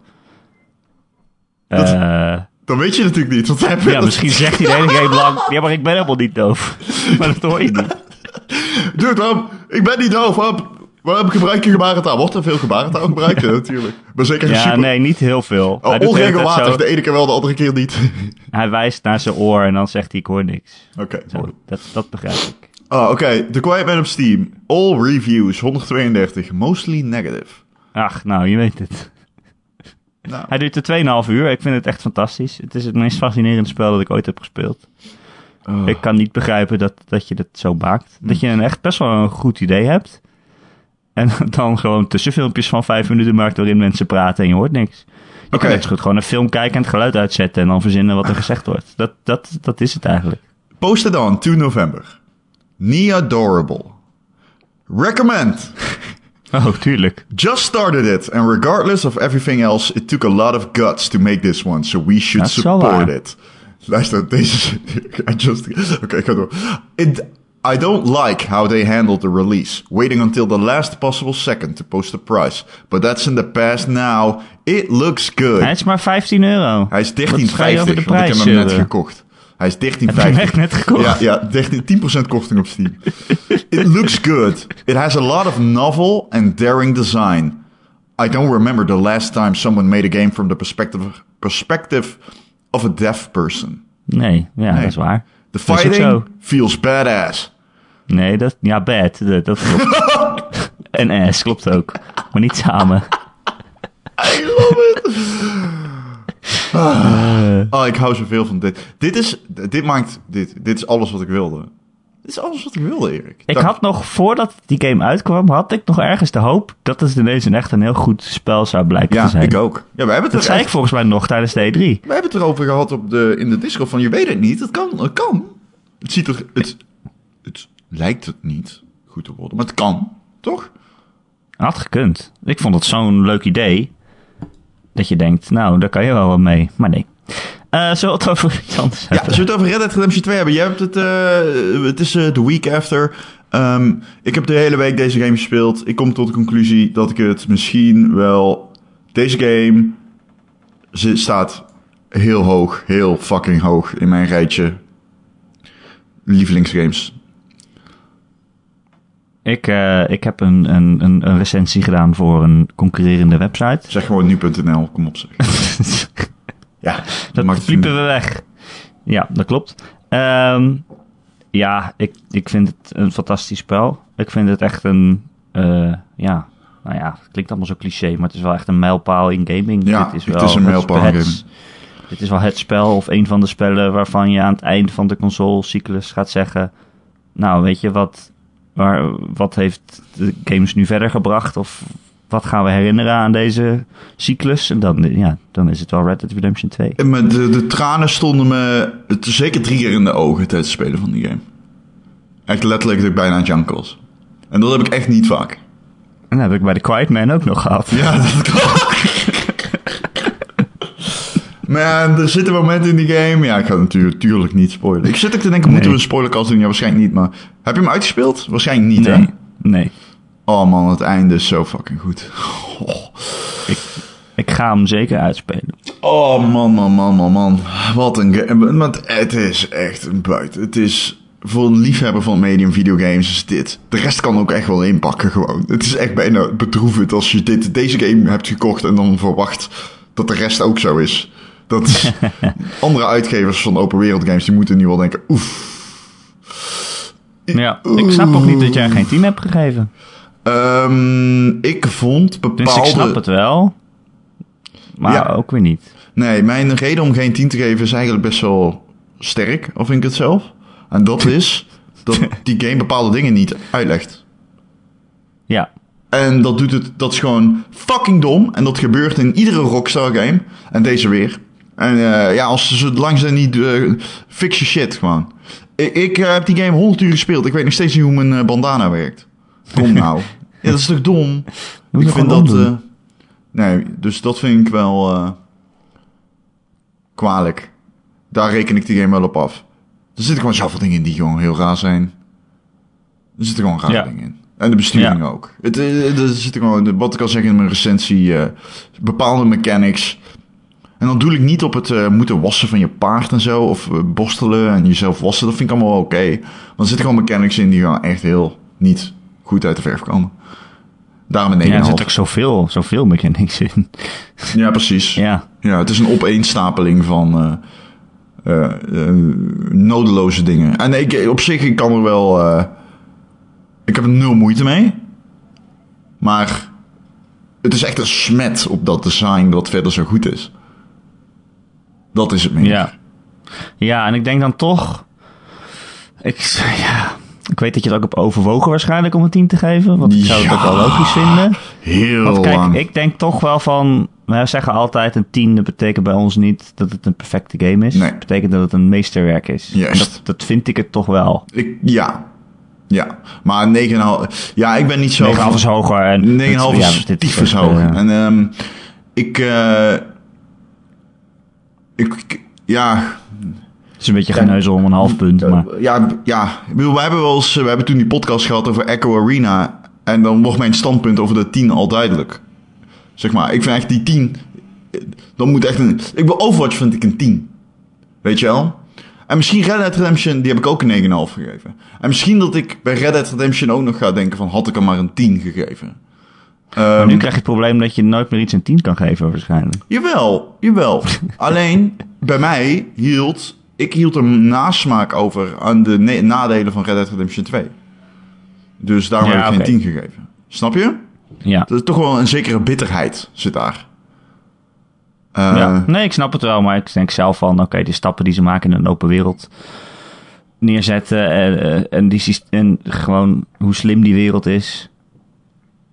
Speaker 2: Dat-
Speaker 1: Eh,
Speaker 2: Dan weet je natuurlijk niet, want hij heeft-
Speaker 1: ja, misschien zegt hij de hele game lang. Ja, maar ik ben helemaal niet doof. Maar dat hoor je niet.
Speaker 2: Dude, waarom? Ik ben niet doof. Waarom, waarom gebruik je gebarentaal? Wordt er veel gebarentaal gebruikt? Ja, natuurlijk. Maar zeker
Speaker 1: Ja,
Speaker 2: super...
Speaker 1: nee, niet heel veel.
Speaker 2: Oh,
Speaker 1: Hij doet de hele tijd
Speaker 2: onregelmatig.
Speaker 1: zo-
Speaker 2: De ene keer wel, de andere keer niet.
Speaker 1: Hij wijst naar zijn oor en dan zegt hij: ik hoor niks.
Speaker 2: Oké.
Speaker 1: Zo, dat, dat begrijp ik.
Speaker 2: Oh, oké. The Quiet Man op Steam. All reviews 132. Mostly negative.
Speaker 1: Ach, nou, je weet het.
Speaker 2: Nou.
Speaker 1: Hij duurt er 2,5 uur. Ik vind het echt fantastisch. Het is het meest fascinerende spel dat ik ooit heb gespeeld.
Speaker 2: Oh.
Speaker 1: Ik kan niet begrijpen dat, dat je dat zo maakt. Dat je een echt best wel een goed idee hebt. En dan gewoon tussenfilmpjes van 5 minuten maakt waarin mensen praten en je hoort niks. Je
Speaker 2: Oké.
Speaker 1: kan net zo goed gewoon een film kijken en het geluid uitzetten en dan verzinnen wat er gezegd wordt. Dat, dat, dat is het eigenlijk.
Speaker 2: Posted on 2 november. Nia Adorable. Recommend.
Speaker 1: Oh, tuurlijk.
Speaker 2: Just started it, and regardless of everything else, it took a lot of guts to make this one, so we should
Speaker 1: Dat is wel
Speaker 2: support
Speaker 1: waar.
Speaker 2: it. Luister, deze. I just. Oké, ik ga door. It, I don't like how they handled the release, waiting until the last possible second to post the price. But that's in the past now. It looks good.
Speaker 1: Hij is maar 15 euro.
Speaker 2: Hij is 13,50.
Speaker 1: ga je over de
Speaker 2: want Ik heb
Speaker 1: prijs
Speaker 2: hem net
Speaker 1: zeuren?
Speaker 2: gekocht. Hij is 13,50.
Speaker 1: je hem echt net gekocht?
Speaker 2: Ja, ja 13, 10% korting op Steam. It looks good. It has a lot of novel and daring design. I don't remember the last time someone made a game from the perspective, perspective of a deaf person.
Speaker 1: Nee, ja, dat is waar.
Speaker 2: The
Speaker 1: is ook
Speaker 2: fighting
Speaker 1: zo.
Speaker 2: feels badass.
Speaker 1: Nee, dat... Ja, bad. Dat, dat klopt. en ass klopt ook. Maar niet samen.
Speaker 2: I love it. Ah. Oh, ik hou zoveel van dit. Dit is, dit maakt, dit, dit is alles wat ik wilde. Dit is alles wat ik wilde, Erik.
Speaker 1: Ik
Speaker 2: Dank
Speaker 1: had nog, voordat die game uitkwam, had ik nog ergens de hoop dat het ineens een echt een heel goed spel zou blijken te
Speaker 2: Ja,
Speaker 1: zijn.
Speaker 2: ik ook. Ja, we hebben het
Speaker 1: Dat zei
Speaker 2: er
Speaker 1: ik
Speaker 2: eigenlijk
Speaker 1: volgens mij nog tijdens de E3.
Speaker 2: we hebben het erover gehad op de, in de Discord van je weet het niet. Het kan, het kan. Het ziet er, het, het lijkt het niet goed te worden, maar het kan, toch?
Speaker 1: Had gekund. Ik vond het zo'n leuk idee. Dat je denkt, nou, daar kan je wel wat mee. Maar nee. Eh zullen we het over iets anders
Speaker 2: Ja,
Speaker 1: hebben?
Speaker 2: zullen we het over Red Dead Redemption 2 hebben? Je hebt het, eh, het is eh, de week after. Ehm, ik heb de hele week deze game gespeeld. Ik kom tot de conclusie dat ik het misschien wel... Deze game ze staat heel hoog, heel fucking hoog in mijn rijtje lievelingsgames.
Speaker 1: Ik, eh, ik heb een, een, een, een recensie gedaan voor een concurrerende website.
Speaker 2: Zeg gewoon nu.nl, kom op zeg. Ja,
Speaker 1: dat
Speaker 2: mag het
Speaker 1: piepen we weg. Ja, dat klopt. Ehm, ja, ik, ik vind het een fantastisch spel. Ik vind het echt een... eh, ja, nou ja, het klinkt allemaal zo cliché, maar het is wel echt een mijlpaal in gaming.
Speaker 2: Ja,
Speaker 1: Dit
Speaker 2: het is een mijlpaal in
Speaker 1: het-
Speaker 2: gaming.
Speaker 1: Dit is wel het spel of een van de spellen waarvan je aan het eind van de consolecyclus gaat zeggen... Nou, weet je, wat, waar, wat heeft de games nu verder gebracht? Of wat gaan we herinneren aan deze cyclus? En dan, ja, dan is het wel Red Dead Redemption 2.
Speaker 2: En me- de, de tranen stonden me het- zeker drie keer in de ogen tijdens het spelen van die game. Echt letterlijk dat ik bijna aan het janken was. En dat heb ik echt niet vaak.
Speaker 1: En Nou, dat heb ik bij The Quiet Man ook nog gehad.
Speaker 2: Ja, dat klopt. maar ja, er zitten momenten in die game... Ja, ik ga het natuurlijk, natuurlijk niet spoilen. Ik zit ook te denken, moeten
Speaker 1: Nee.
Speaker 2: we een spoilercast doen? Ja, waarschijnlijk niet, maar... Heb je hem uitgespeeld? Waarschijnlijk niet, hè?
Speaker 1: Nee, nee.
Speaker 2: Oh man, het einde is zo fucking goed. Oh.
Speaker 1: Ik ga hem zeker uitspelen.
Speaker 2: Oh man, man, man, man, man. Wat een game. Want het is echt een buit. Het is voor een liefhebber van het medium videogames is dit. De rest kan ook echt wel inpakken gewoon. Het is echt bijna bedroevend als je dit, deze game hebt gekocht en dan verwacht dat de rest ook zo is. Dat is- andere uitgevers van open wereld games die moeten nu wel denken, oef.
Speaker 1: Ja, ik snap ook niet dat jij geen team hebt gegeven.
Speaker 2: Ehm, ik vond
Speaker 1: Dus
Speaker 2: bepaalde...
Speaker 1: ik snap het wel. Maar
Speaker 2: Ja.
Speaker 1: ook weer niet.
Speaker 2: Nee, mijn reden om geen 10 te geven is eigenlijk best wel sterk, of vind ik het zelf. En dat is dat die game bepaalde dingen niet uitlegt.
Speaker 1: Ja,
Speaker 2: En dat doet het, dat is gewoon fucking dom. En dat gebeurt in iedere Rockstar game. En deze weer. En eh, ja, als ze het langzaam niet, eh, fix je shit gewoon. Ik, ik eh, heb die game 100 uur gespeeld. Ik weet nog steeds niet hoe mijn eh, bandana werkt. Kom nou. ja, dat is toch dom?
Speaker 1: Moet je
Speaker 2: ik vind
Speaker 1: gewoon
Speaker 2: dat.
Speaker 1: omdoen.
Speaker 2: eh, nee, dus dat vind ik wel eh, kwalijk. Daar reken ik die game wel op af. Er zitten gewoon zoveel dingen in die gewoon heel raar zijn. Er zitten gewoon rare
Speaker 1: Ja.
Speaker 2: dingen in. En de besturing
Speaker 1: Ja.
Speaker 2: ook. Het, eh, er zitten gewoon, wat ik al zeg in mijn recensie, eh, bepaalde mechanics. En dan doe ik niet op het eh, moeten wassen van je paard en zo. Of eh, borstelen en jezelf wassen. Dat vind ik allemaal wel oké. Maar er zitten gewoon mechanics in die gewoon echt heel niet goed uit de verf komen. Daarom een 9,5.
Speaker 1: ja
Speaker 2: Ja,
Speaker 1: er zit ook zoveel, zoveel mechanics in.
Speaker 2: precies. Ja.
Speaker 1: Ja,
Speaker 2: het is een opeenstapeling van eh, eh, eh, nodeloze dingen. En ik, op zich, ik kan er wel... eh, ik heb er nul moeite mee. Maar het is echt een smet op dat design wat verder zo goed is. Dat is het meer.
Speaker 1: ja. Ja, en ik denk dan toch... Ik, ja, ik weet dat je het ook hebt overwogen waarschijnlijk om een team te geven. Want ik zou het ook wel
Speaker 2: Ja.
Speaker 1: logisch vinden.
Speaker 2: Heel
Speaker 1: Want kijk,
Speaker 2: lang.
Speaker 1: ik denk toch wel van... We zeggen altijd een tiende betekent bij ons niet dat het een perfecte game is.
Speaker 2: Nee.
Speaker 1: Het betekent dat het een meesterwerk is.
Speaker 2: Juist.
Speaker 1: En dat, dat vind ik het toch wel.
Speaker 2: Ik- ja. Ja. Maar 9,5... Ja, ik ben niet zo...
Speaker 1: 9,5 is hoger. En
Speaker 2: 9,5 is
Speaker 1: dit is
Speaker 2: tyfus
Speaker 1: echt,
Speaker 2: hoog.
Speaker 1: eh,
Speaker 2: En ehm, ik, eh, ik... ik- Ja...
Speaker 1: het is een beetje geneuzel om een half punt. Maar
Speaker 2: Ja, ja. Ik bedoel, we hebben wel eens... We hebben toen die podcast gehad over Echo Arena. En dan wordt mijn standpunt over de 10 al duidelijk. Zeg maar, ik vind echt die 10... eh, Dan moet echt een... Ik wil Overwatch vind ik een 10. Weet je wel? En misschien Red Dead Redemption, die heb ik ook een 9,5 gegeven. En misschien dat ik bij Red Dead Redemption ook nog ga denken van... Had ik hem maar een 10 gegeven? Ehm,
Speaker 1: nu krijg je het probleem dat je nooit meer iets een 10 kan geven waarschijnlijk.
Speaker 2: Jawel, jawel. Alleen bij mij hield. Ik hield een nasmaak over aan de ne- nadelen van Red Dead Redemption 2. Dus daarom
Speaker 1: Ja,
Speaker 2: heb ik
Speaker 1: oké.
Speaker 2: geen 10 gegeven. Snap je?
Speaker 1: Ja.
Speaker 2: Dat is toch wel een zekere bitterheid zit daar. Eh,
Speaker 1: ja. Nee, ik snap het wel. Maar ik denk zelf van... Oké, de stappen die ze maken in een open wereld... Neerzetten. En, eh, en, die, syst- en gewoon hoe slim die wereld is.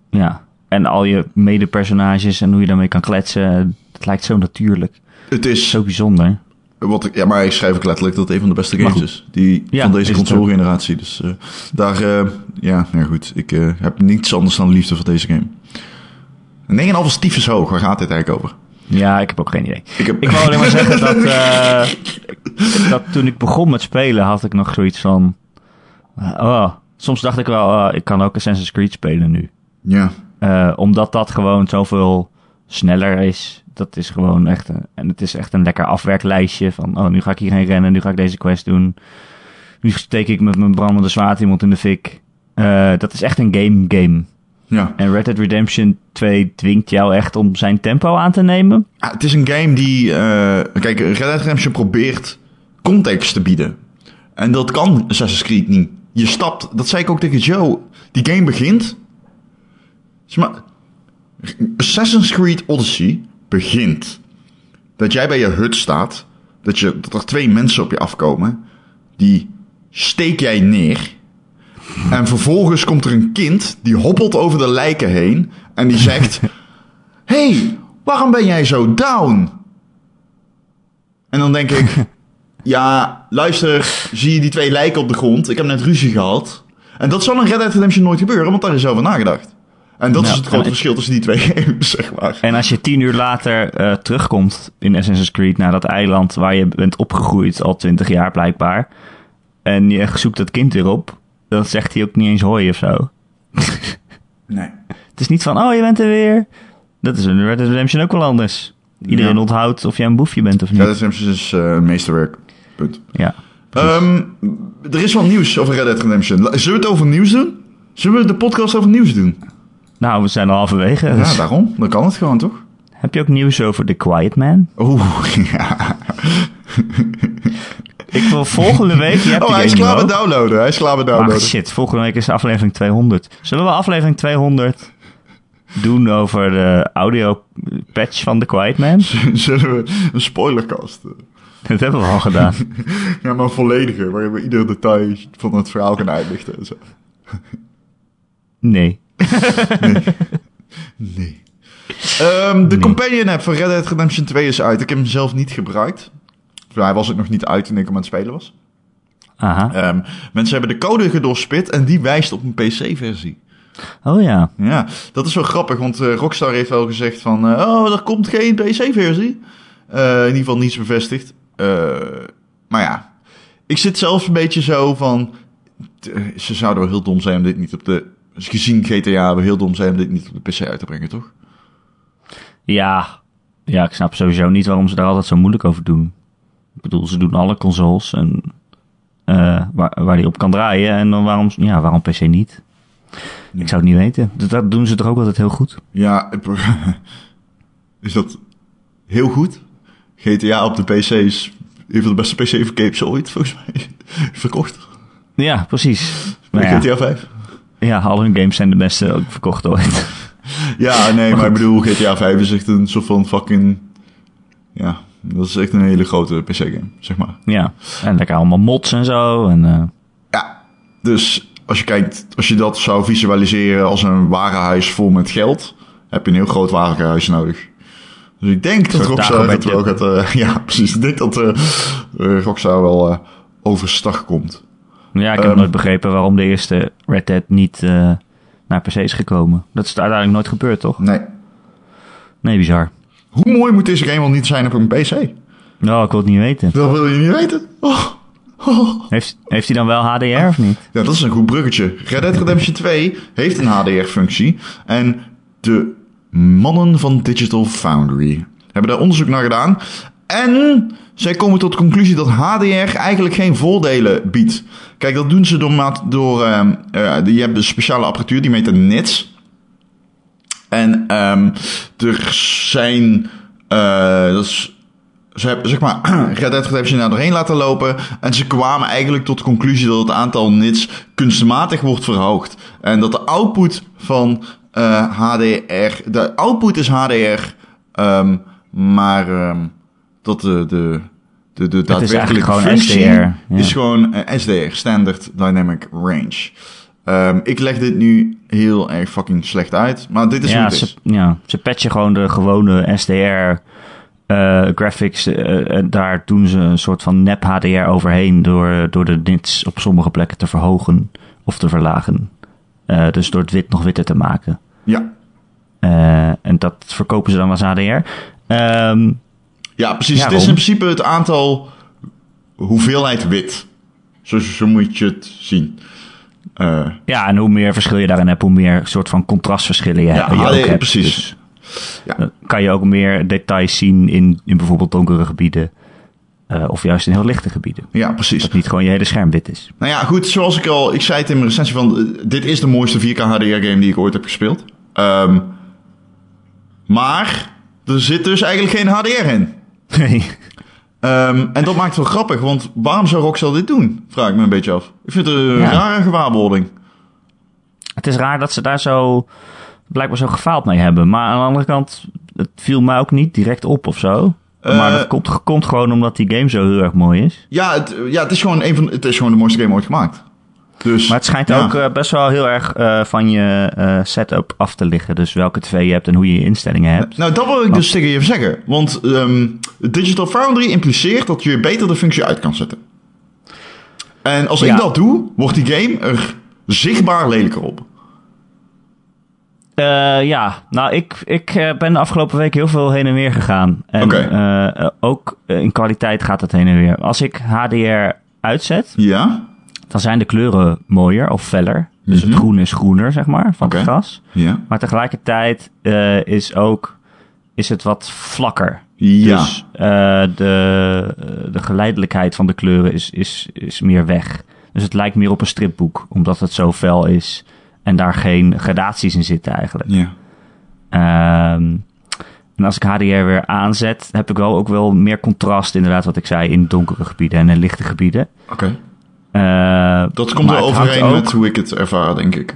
Speaker 1: Ja. En al je medepersonages en hoe je daarmee kan kletsen. Het lijkt zo natuurlijk.
Speaker 2: Het is
Speaker 1: Zo bijzonder.
Speaker 2: Wat ik, ja, maar hij schrijf ik letterlijk dat het een van de beste
Speaker 1: Maar
Speaker 2: games
Speaker 1: goed.
Speaker 2: is. Die,
Speaker 1: Ja,
Speaker 2: van deze
Speaker 1: is het
Speaker 2: console-generatie. Dus eh, daar, eh, ja, nou goed. Ik eh, heb niets anders dan liefde voor deze game. 9,5 is tyfus hoog. Waar gaat dit eigenlijk over?
Speaker 1: Ja, ik heb ook geen idee.
Speaker 2: Ik heb-
Speaker 1: Ik wou alleen maar zeggen dat, eh, dat toen ik begon met spelen had ik nog zoiets van... eh, oh, soms dacht ik wel, eh, ik kan ook Assassin's Creed spelen nu.
Speaker 2: Ja,
Speaker 1: Eh, omdat dat gewoon zoveel sneller is. Dat is gewoon echt een, en het is echt een lekker afwerklijstje van, oh, nu ga ik hierheen rennen, nu ga ik deze quest doen. Nu steek ik met mijn brandende zwaard iemand in de fik. Eh, dat is echt een game-game.
Speaker 2: ja.
Speaker 1: En Red Dead Redemption 2 dwingt jou echt om zijn tempo aan te nemen.
Speaker 2: Ah, het is een game die... eh, kijk, Red Dead Redemption probeert context te bieden. En dat kan Assassin's Creed niet. Je stapt... Dat zei ik ook tegen Joe. Die game begint... Zeg maar, Assassin's Creed Odyssey begint... Dat jij bij je hut staat. Dat, je, dat er twee mensen op je afkomen. Die steek jij neer. En vervolgens komt er een kind die hoppelt over de lijken heen. En die zegt... hey, waarom ben jij zo down? En dan denk ik... ja, luister, zie je die twee lijken op de grond? Ik heb net ruzie gehad. En dat zal in Red Dead Redemption nooit gebeuren, want daar is over nagedacht. En dat
Speaker 1: Nou,
Speaker 2: is het grote
Speaker 1: en-
Speaker 2: verschil tussen die twee games, zeg maar.
Speaker 1: En als je tien uur later eh, terugkomt in Assassin's Creed naar dat eiland waar je bent opgegroeid al twintig jaar blijkbaar. En je zoekt dat kind weer op. Dan zegt hij ook niet eens hoi of zo.
Speaker 2: Nee.
Speaker 1: Het is niet van, oh je bent er weer. Dat is in Red Dead Redemption ook wel anders. Iedereen
Speaker 2: Ja.
Speaker 1: onthoudt of jij een boefje bent of
Speaker 2: Red
Speaker 1: niet.
Speaker 2: Dead Redemption is eh, een meesterwerk. Punt.
Speaker 1: Ja.
Speaker 2: Ehm, er is wat nieuws over Red Dead Redemption. La- Zullen we het over nieuws doen? Zullen we de podcast over nieuws doen?
Speaker 1: Nou, we zijn al halverwege.
Speaker 2: Ja, nou.
Speaker 1: Dus
Speaker 2: daarom. Dan kan het gewoon, toch? Oh,
Speaker 1: Heb je ook nieuws over The Quiet Man?
Speaker 2: Oeh, ja.
Speaker 1: Ik wil volgende week... Je hebt
Speaker 2: Oh,
Speaker 1: die
Speaker 2: hij is
Speaker 1: game
Speaker 2: klaar
Speaker 1: nog.
Speaker 2: met downloaden. Hij is klaar met
Speaker 1: Ach
Speaker 2: downloaden.
Speaker 1: shit, volgende week is aflevering 200. Zullen we aflevering 200 doen over de audio patch van The Quiet Man?
Speaker 2: Zullen we een spoilercast? eh,
Speaker 1: Dat hebben we al gedaan.
Speaker 2: Ja, maar een volledige. Waarin we ieder detail van het verhaal kunnen uitlichten en zo.
Speaker 1: Nee.
Speaker 2: Nee. Ehm, de Companion app van Red Dead Redemption 2 is uit. Ik heb hem zelf niet gebruikt. Nou, Hij was ook nog niet uit toen ik hem aan het spelen was.
Speaker 1: Aha.
Speaker 2: Ehm, mensen hebben de code gedoorspit en die wijst op een PC-versie.
Speaker 1: Oh ja.
Speaker 2: Ja, dat is wel grappig, want eh, Rockstar heeft wel gezegd van... eh, oh, er komt geen PC-versie. Eh, in ieder geval niets bevestigd. Eh, maar ja, ik zit zelf een beetje zo van... t- eh, Ze zouden wel heel dom zijn om dit niet op de... Gezien GTA, wel heel dom zijn om dit niet op de PC uit te brengen, toch?
Speaker 1: Ja. Ja, ik snap sowieso niet waarom ze daar altijd zo moeilijk over doen. Ik bedoel, ze doen alle consoles en, eh, waar, waar die op kan draaien. En dan waarom, ja, waarom PC niet? Ik zou het niet weten. Dat, dat doen ze toch ook altijd heel goed?
Speaker 2: Ja, ik- is dat heel goed? GTA op de PC is een van de beste PC-verkeeps ooit, volgens mij. Verkocht.
Speaker 1: Ja, precies. Nou
Speaker 2: Bij
Speaker 1: ja,
Speaker 2: GTA 5?
Speaker 1: ja, al hun games zijn de beste ook verkocht ooit.
Speaker 2: Ja, nee, maar,
Speaker 1: goed.
Speaker 2: ik bedoel, GTA 5 is echt een soort van fucking... Ja, dat is echt een hele grote PC-game, zeg maar.
Speaker 1: Ja, en lekker allemaal mods en zo. En, eh,
Speaker 2: Ja, dus als je kijkt, als je dat zou visualiseren als een warenhuis vol met geld... heb je een heel groot warenhuis nodig. Dus ik denk dat
Speaker 1: soort
Speaker 2: Rockstar dat wel
Speaker 1: Dagobert
Speaker 2: gaat... eh, ja, precies. Ik denk dat eh eh, Rockstar wel eh, overstag komt.
Speaker 1: ja, ik heb
Speaker 2: Ehm.
Speaker 1: nooit begrepen waarom de eerste Red Dead niet eh, naar PC is gekomen. Dat is uiteindelijk nooit gebeurd, toch?
Speaker 2: Nee.
Speaker 1: Nee, bizar.
Speaker 2: Hoe mooi moet deze game wel niet zijn op een PC?
Speaker 1: Nou, ik wil het niet weten.
Speaker 2: Dat wil je niet weten. Oh. Oh.
Speaker 1: Heeft, heeft hij dan wel HDR of niet?
Speaker 2: Ja, dat is een goed bruggetje. Red Dead Redemption 2 heeft een HDR-functie. En de mannen van Digital Foundry hebben daar onderzoek naar gedaan. En zij komen tot de conclusie dat HDR eigenlijk geen voordelen biedt. Kijk, dat doen ze door... maat- door ehm, eh, je hebt een speciale apparatuur, die meet de nits. En ehm, er zijn. eh, dat is, ze hebben zeg maar Red Dead Redemption daar doorheen laten lopen. En ze kwamen eigenlijk tot de conclusie dat het aantal nits kunstmatig wordt verhoogd. En dat de output van eh, HDR. De output is HDR. ehm, maar ehm, dat de. de de, de
Speaker 1: eigenlijk
Speaker 2: daadwerkelijke
Speaker 1: gewoon
Speaker 2: functie
Speaker 1: SDR, ja.
Speaker 2: is gewoon eh, SDR, Standard Dynamic Range. Ehm, ik leg dit nu heel erg fucking slecht uit, maar dit is hoe
Speaker 1: Ja
Speaker 2: het is.
Speaker 1: ze, ja, ze patchen gewoon de gewone SDR eh, graphics, eh, en daar doen ze een soort van nep HDR overheen door, door de nits op sommige plekken te verhogen of te verlagen. Eh, dus door het wit nog witter te maken.
Speaker 2: Ja,
Speaker 1: Eh, en dat verkopen ze dan als HDR. Ehm,
Speaker 2: ja precies.
Speaker 1: Ja,
Speaker 2: het is in
Speaker 1: waarom?
Speaker 2: principe het aantal hoeveelheid wit. Zo, zo moet je het zien. Eh,
Speaker 1: ja, en hoe meer verschil je daarin hebt, hoe meer soort van contrastverschillen je,
Speaker 2: ja,
Speaker 1: je
Speaker 2: HD,
Speaker 1: ook hebt.
Speaker 2: precies.
Speaker 1: Dus
Speaker 2: ja.
Speaker 1: dan kan je ook meer details zien in, in bijvoorbeeld donkere gebieden. eh, of juist in heel lichte gebieden.
Speaker 2: ja, precies.
Speaker 1: Dat niet gewoon je hele scherm wit is.
Speaker 2: Nou ja, goed, zoals ik al... Ik zei het in mijn recensie van... eh, Dit is de mooiste 4K HDR-game die ik ooit heb gespeeld. Ehm, maar er zit dus eigenlijk geen HDR in.
Speaker 1: Nee.
Speaker 2: Ehm, en dat maakt het wel grappig, want waarom zou Rockstar dit doen? Vraag ik me een beetje af. Ik vind het een
Speaker 1: Ja.
Speaker 2: rare gewaarwording.
Speaker 1: Het is raar dat ze daar zo blijkbaar zo gefaald mee hebben. Maar aan de andere kant, het viel mij ook niet direct op of zo. maar
Speaker 2: Eh,
Speaker 1: dat komt, komt gewoon omdat die game zo heel erg mooi is.
Speaker 2: Ja, het, ja, het, is gewoon een van, het is gewoon de mooiste game ooit gemaakt. Dus,
Speaker 1: Maar het schijnt
Speaker 2: ja.
Speaker 1: ook eh, best wel heel erg eh, van je eh, setup af te liggen. Dus welke tv je hebt en hoe je je instellingen hebt.
Speaker 2: Nou, dat wil ik
Speaker 1: Oh.
Speaker 2: dus tegen je even zeggen. Want ehm, Digital Foundry impliceert dat je beter de functie uit kan zetten. En als
Speaker 1: Ja.
Speaker 2: ik dat doe, wordt die game er zichtbaar lelijker op.
Speaker 1: Eh, ja, nou ik, ik eh, ben de afgelopen week heel veel heen en weer gegaan. En
Speaker 2: Oké.
Speaker 1: eh, eh, ook eh, in kwaliteit gaat het heen en weer. Als ik HDR uitzet,
Speaker 2: Ja?
Speaker 1: dan zijn de kleuren mooier of feller. Dus
Speaker 2: Mhm.
Speaker 1: het groen is groener, zeg maar, van
Speaker 2: Oké.
Speaker 1: het gras.
Speaker 2: Ja.
Speaker 1: Maar tegelijkertijd eh, is, ook, is het wat vlakker.
Speaker 2: Ja.
Speaker 1: Dus eh, de, eh, de geleidelijkheid van de kleuren is, is, is meer weg. Dus het lijkt meer op een stripboek, omdat het zo fel is en daar geen gradaties in zitten eigenlijk.
Speaker 2: ja.
Speaker 1: Ehm, en als ik HDR weer aanzet, heb ik wel ook wel meer contrast, inderdaad, wat ik zei, in donkere gebieden en in lichte gebieden.
Speaker 2: Oké.
Speaker 1: Eh,
Speaker 2: Dat komt
Speaker 1: maar
Speaker 2: wel
Speaker 1: het hangt
Speaker 2: overeen
Speaker 1: ook-
Speaker 2: met hoe ik het ervaar, denk ik.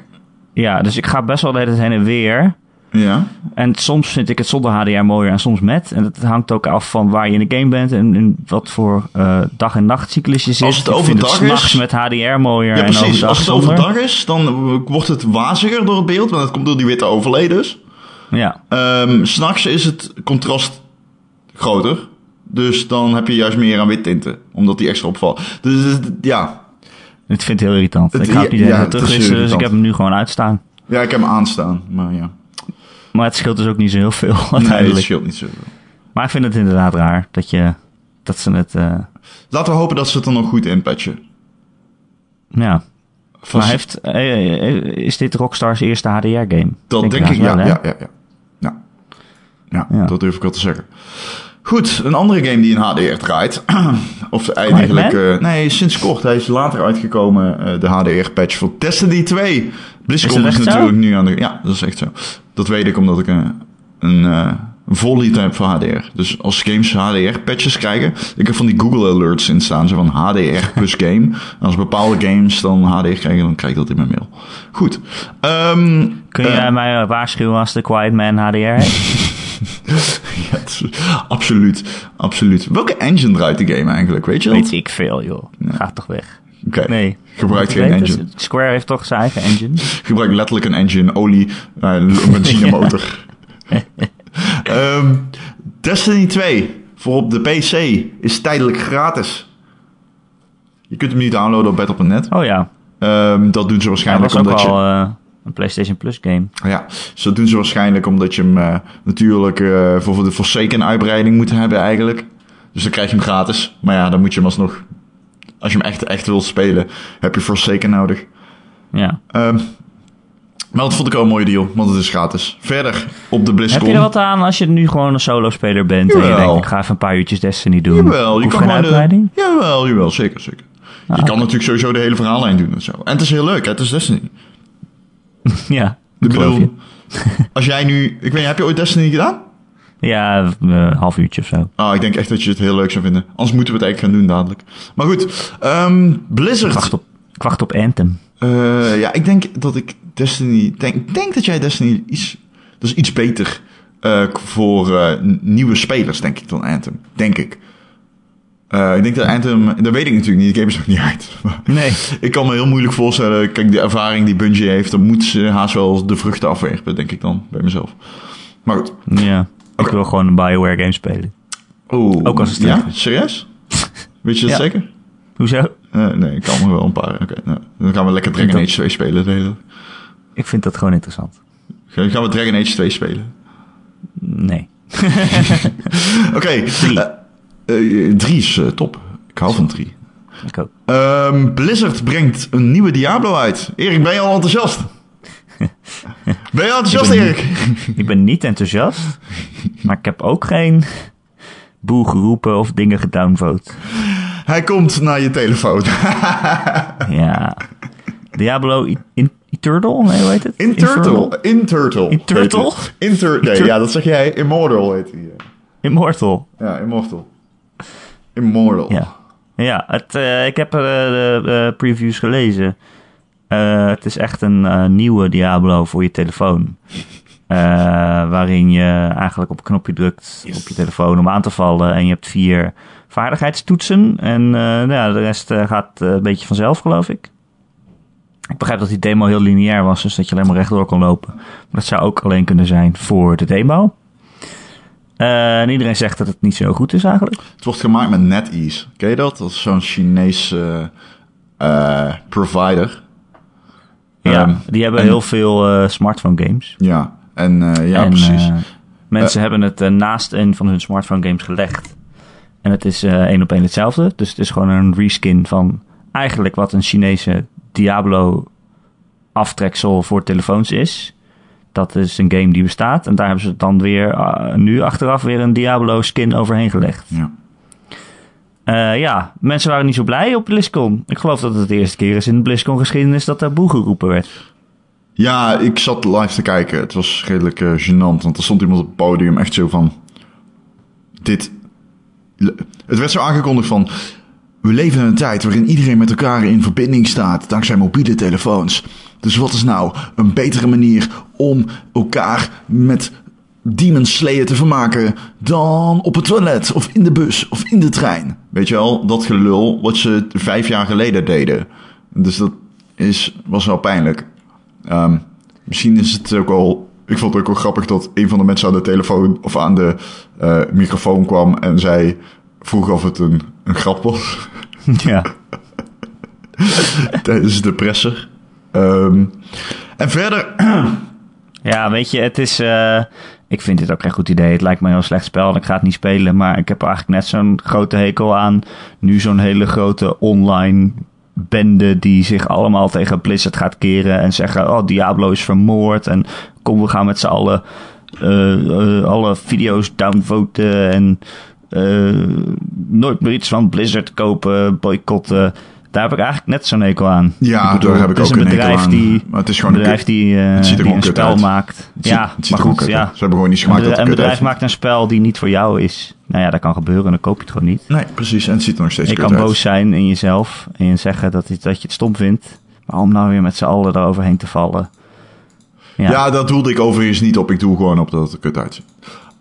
Speaker 1: Ja, dus ik ga best wel de hele tijd heen en weer.
Speaker 2: Ja.
Speaker 1: En soms vind ik het zonder HDR mooier en soms met. En dat hangt ook af van waar je in de game bent en in wat voor eh, dag- en nachtcyclus je zit.
Speaker 2: Als het
Speaker 1: Ik vind
Speaker 2: overdag
Speaker 1: s'nachts
Speaker 2: is-
Speaker 1: met HDR mooier en
Speaker 2: Ja, precies.
Speaker 1: overdag
Speaker 2: Als het
Speaker 1: zonder.
Speaker 2: overdag is, dan eh, wordt het waziger door het beeld, want dat komt door die witte overlay dus.
Speaker 1: Ja,
Speaker 2: Ehm, S S'nachts is het contrast groter, dus dan heb je juist meer aan wit tinten, omdat die extra opvallen. Dus het- ja.
Speaker 1: ik vind het heel irritant.
Speaker 2: Het-
Speaker 1: ik ga het niet de hele
Speaker 2: ja,
Speaker 1: tijd
Speaker 2: het is heel
Speaker 1: terugwisselen, dus ik
Speaker 2: irritant.
Speaker 1: heb hem nu gewoon uitstaan.
Speaker 2: ja, ik heb hem aanstaan, maar ja.
Speaker 1: Maar het scheelt dus ook niet zo heel veel
Speaker 2: Nee, dat
Speaker 1: uiteindelijk.
Speaker 2: scheelt niet zo.
Speaker 1: maar ik vind het inderdaad raar dat, je, dat ze het... eh,
Speaker 2: Laten we hopen dat ze het er nog goed in patchen.
Speaker 1: ja,
Speaker 2: Van-
Speaker 1: maar heeft, eh, eh, is dit Rockstar's eerste HDR-game?
Speaker 2: dat denk ik, ja, ja, ja, ja. Ja. Ja,
Speaker 1: Ja.
Speaker 2: dat durf ik wel te zeggen. Goed, een andere game die in HDR draait, of eigenlijk...
Speaker 1: Quiet
Speaker 2: eh, nee, sinds kort, hij is later uitgekomen, eh, de HDR-patch voor Destiny 2.
Speaker 1: Is dat
Speaker 2: BlizzCon is,
Speaker 1: echt zo?
Speaker 2: natuurlijk nu aan de... Ja, dat is echt zo. Dat weet ik omdat ik een, een eh, vol lied heb voor HDR. Dus als games HDR-patches krijgen, ik heb van die Google Alerts in staan, zo van HDR plus game. En als bepaalde games dan HDR krijgen, dan krijg ik dat in mijn mail. Goed. Ehm,
Speaker 1: Kun
Speaker 2: eh,
Speaker 1: jij mij waarschuwen als de Quiet Man HDR heeft?
Speaker 2: Ja, het is- absoluut, absoluut. Welke engine draait de game eigenlijk, weet je dat?
Speaker 1: Weet ik veel, joh. Ga toch weg.
Speaker 2: Oké.
Speaker 1: Nee.
Speaker 2: Gebruikt geen
Speaker 1: Weet het?
Speaker 2: engine.
Speaker 1: Square heeft toch zijn eigen engine?
Speaker 2: Gebruik letterlijk een engine, olie, eh, een benzinemotor. Ehm, Destiny 2 voor op de PC is tijdelijk gratis. Je kunt hem nu downloaden op battle.net.
Speaker 1: Oh ja,
Speaker 2: Ehm, dat doen
Speaker 1: dat
Speaker 2: ze waarschijnlijk
Speaker 1: was ook
Speaker 2: omdat je...
Speaker 1: al eh, een PlayStation Plus game.
Speaker 2: Ja, dus dat doen ze waarschijnlijk omdat je hem eh, natuurlijk eh, voor voor de Forsaken uitbreiding moet hebben eigenlijk. Dus dan krijg je hem gratis. Maar ja, dan moet je hem alsnog... Als je hem echt, echt wilt spelen, heb je Forsaken nodig.
Speaker 1: Ja.
Speaker 2: Ehm, maar dat vond ik ook een mooie deal, want het is gratis. Verder, op de BlizzCon...
Speaker 1: Heb je er wat aan als je nu gewoon een solo-speler bent en je
Speaker 2: Jawel.
Speaker 1: denkt, ik ga even een paar uurtjes Destiny doen?
Speaker 2: Jawel, je
Speaker 1: Hoef
Speaker 2: kan
Speaker 1: geen
Speaker 2: gewoon eh, de-
Speaker 1: uitbreiding? Ah,
Speaker 2: Jawel, jawel, zeker, zeker. je kan natuurlijk sowieso de hele verhaallijn doen en zo. En het is heel leuk, hè? het is Destiny.
Speaker 1: Ja,
Speaker 2: Ik
Speaker 1: ik geloof
Speaker 2: bedoel,
Speaker 1: je.
Speaker 2: als jij nu... Ik weet niet, heb je ooit Destiny gedaan?
Speaker 1: Ja, eh, een half uurtje of zo.
Speaker 2: Ah, ik denk echt dat je het heel leuk zou vinden. Anders moeten we het eigenlijk gaan doen dadelijk. Maar goed, ehm,
Speaker 1: Ik
Speaker 2: Blizzard.
Speaker 1: wacht op, ik wacht op Anthem.
Speaker 2: Eh, ja, ik denk dat ik Destiny... denk- Ik denk dat jij Destiny iets... Dat is iets beter eh, voor eh, n- nieuwe spelers, denk ik, dan Anthem. Denk ik. Eh, ik denk dat Anthem... Dat weet ik natuurlijk niet. De game is nog niet uit. Maar
Speaker 1: Nee.
Speaker 2: ik kan me heel moeilijk voorstellen... Kijk, de ervaring die Bungie heeft... Dan moet ze haast wel de vruchten afwerpen, denk ik dan. Bij mezelf. Maar goed.
Speaker 1: Ja, ik
Speaker 2: Oké.
Speaker 1: wil gewoon een Bioware game spelen.
Speaker 2: Oeh.
Speaker 1: Ook als een
Speaker 2: Ja?
Speaker 1: strikker.
Speaker 2: Serieus? Weet je dat
Speaker 1: Ja.
Speaker 2: zeker?
Speaker 1: Hoezo?
Speaker 2: Eh, nee, ik kan er wel een paar. Oké, nou, dan gaan we lekker Dragon
Speaker 1: Dat-
Speaker 2: Age 2 spelen. De hele...
Speaker 1: Ik vind dat gewoon interessant.
Speaker 2: Gaan gaan we Dragon Age 2 spelen?
Speaker 1: Nee.
Speaker 2: Oké.
Speaker 1: Drie.
Speaker 2: eh, eh, drie is eh, top. Ik hou van drie.
Speaker 1: Ik ook.
Speaker 2: Ehm, Blizzard brengt een nieuwe Diablo uit. Erik, ben je al enthousiast? ben je al enthousiast,
Speaker 1: Ik ben
Speaker 2: Erik?
Speaker 1: Ik ben niet enthousiast, maar ik heb ook geen boel geroepen of dingen gedownvote.
Speaker 2: Hij komt naar je telefoon.
Speaker 1: Ja. Diablo I- in, Eternal? Nee, hoe heet het?
Speaker 2: In Turtle.
Speaker 1: Infernal?
Speaker 2: In Turtle.
Speaker 1: In Turtle?
Speaker 2: heet het. In Tur- nee,
Speaker 1: Tur-
Speaker 2: ja, dat zeg jij. Immortal heet hij. eh.
Speaker 1: Immortal.
Speaker 2: Ja, Immortal. Immortal.
Speaker 1: Ja. Ja, het, eh, ik heb eh, de eh, previews gelezen. Eh, het is echt een eh, nieuwe Diablo voor je telefoon. Eh, waarin je eigenlijk op een knopje drukt op je telefoon om aan te vallen. En je hebt vier vaardigheidstoetsen. En eh, nou ja, de rest eh, gaat eh, een beetje vanzelf, geloof ik. Ik begrijp dat die demo heel lineair was, dus dat je alleen maar rechtdoor kon lopen. Maar dat zou ook alleen kunnen zijn voor de demo. Eh, en iedereen zegt dat het niet zo goed is eigenlijk.
Speaker 2: Het wordt gemaakt met NetEase. Ken je dat? Dat is zo'n Chinese eh, eh, provider.
Speaker 1: Ja,
Speaker 2: Ehm,
Speaker 1: die hebben
Speaker 2: en-
Speaker 1: heel veel eh, smartphone games.
Speaker 2: Ja, en eh, ja,
Speaker 1: En,
Speaker 2: precies.
Speaker 1: eh, mensen hebben het eh, naast een van hun smartphone games gelegd. En het is eh, één op één hetzelfde. Dus het is gewoon een reskin van eigenlijk wat een Chinese Diablo aftreksel voor telefoons is. Dat is een game die bestaat. En daar hebben ze dan weer ah, nu achteraf weer een Diablo skin overheen gelegd.
Speaker 2: ja.
Speaker 1: Eh, ja, mensen waren niet zo blij op BlizzCon. Ik geloof dat het de eerste keer is in de BlizzCon geschiedenis dat daar boe geroepen werd.
Speaker 2: ja, ik zat live te kijken. Het was redelijk eh, gênant, want er stond iemand op het podium echt zo van... Dit... Het werd zo aangekondigd van... We leven in een tijd waarin iedereen met elkaar in verbinding staat dankzij mobiele telefoons. Dus wat is nou een betere manier om elkaar met Demon Slayer te vermaken dan op het toilet of in de bus of in de trein? Weet je wel, dat gelul wat ze vijf jaar geleden deden. Dus dat is, was wel pijnlijk. Ehm, misschien is het ook al. Ik vond het ook wel grappig dat een van de mensen aan de telefoon of aan de eh, microfoon kwam en zei. vroeg of het een, een grap was.
Speaker 1: ja.
Speaker 2: tijdens de presser. Ehm, en verder,
Speaker 1: Ja, weet je, het is. eh, ik vind dit ook geen goed idee. Het lijkt me een heel slecht spel en ik ga het niet spelen. Maar ik heb er eigenlijk net zo'n grote hekel aan. Nu zo'n hele grote online bende die zich allemaal tegen Blizzard gaat keren. En zeggen: Oh, Diablo is vermoord. En kom, we gaan met z'n allen eh, eh, alle video's downvoten. En eh, nooit meer iets van Blizzard kopen, boycotten. Daar heb ik eigenlijk net zo'n hekel aan.
Speaker 2: ja,
Speaker 1: bedoel,
Speaker 2: daar heb ik
Speaker 1: het is
Speaker 2: ook
Speaker 1: een
Speaker 2: een hekel
Speaker 1: bedrijf
Speaker 2: aan.
Speaker 1: die-
Speaker 2: maar het is
Speaker 1: een
Speaker 2: gewoon
Speaker 1: bedrijf
Speaker 2: kut-
Speaker 1: die, eh,
Speaker 2: het ziet er
Speaker 1: die
Speaker 2: gewoon
Speaker 1: een
Speaker 2: kut
Speaker 1: spel
Speaker 2: uit.
Speaker 1: maakt.
Speaker 2: het
Speaker 1: ja,
Speaker 2: ziet- het
Speaker 1: maar
Speaker 2: ziet er
Speaker 1: goed,
Speaker 2: gewoon kut
Speaker 1: ja.
Speaker 2: uit. Ze hebben gewoon niet gemaakt
Speaker 1: Een
Speaker 2: dat
Speaker 1: bedrijf-
Speaker 2: het
Speaker 1: een
Speaker 2: kut
Speaker 1: bedrijf
Speaker 2: uit.
Speaker 1: maakt een spel die niet voor jou is. Nou ja, dat kan gebeuren en dan koop je het gewoon niet.
Speaker 2: Nee, precies. En het ziet er nog steeds
Speaker 1: Je
Speaker 2: kut
Speaker 1: kan
Speaker 2: uit.
Speaker 1: boos zijn in jezelf en zeggen dat, je- dat je het stom vindt. Maar om nou weer met z'n allen eroverheen te vallen.
Speaker 2: Ja.
Speaker 1: Ja, ja,
Speaker 2: dat doelde ik overigens niet op. Ik doe gewoon op dat het er kut uitziet.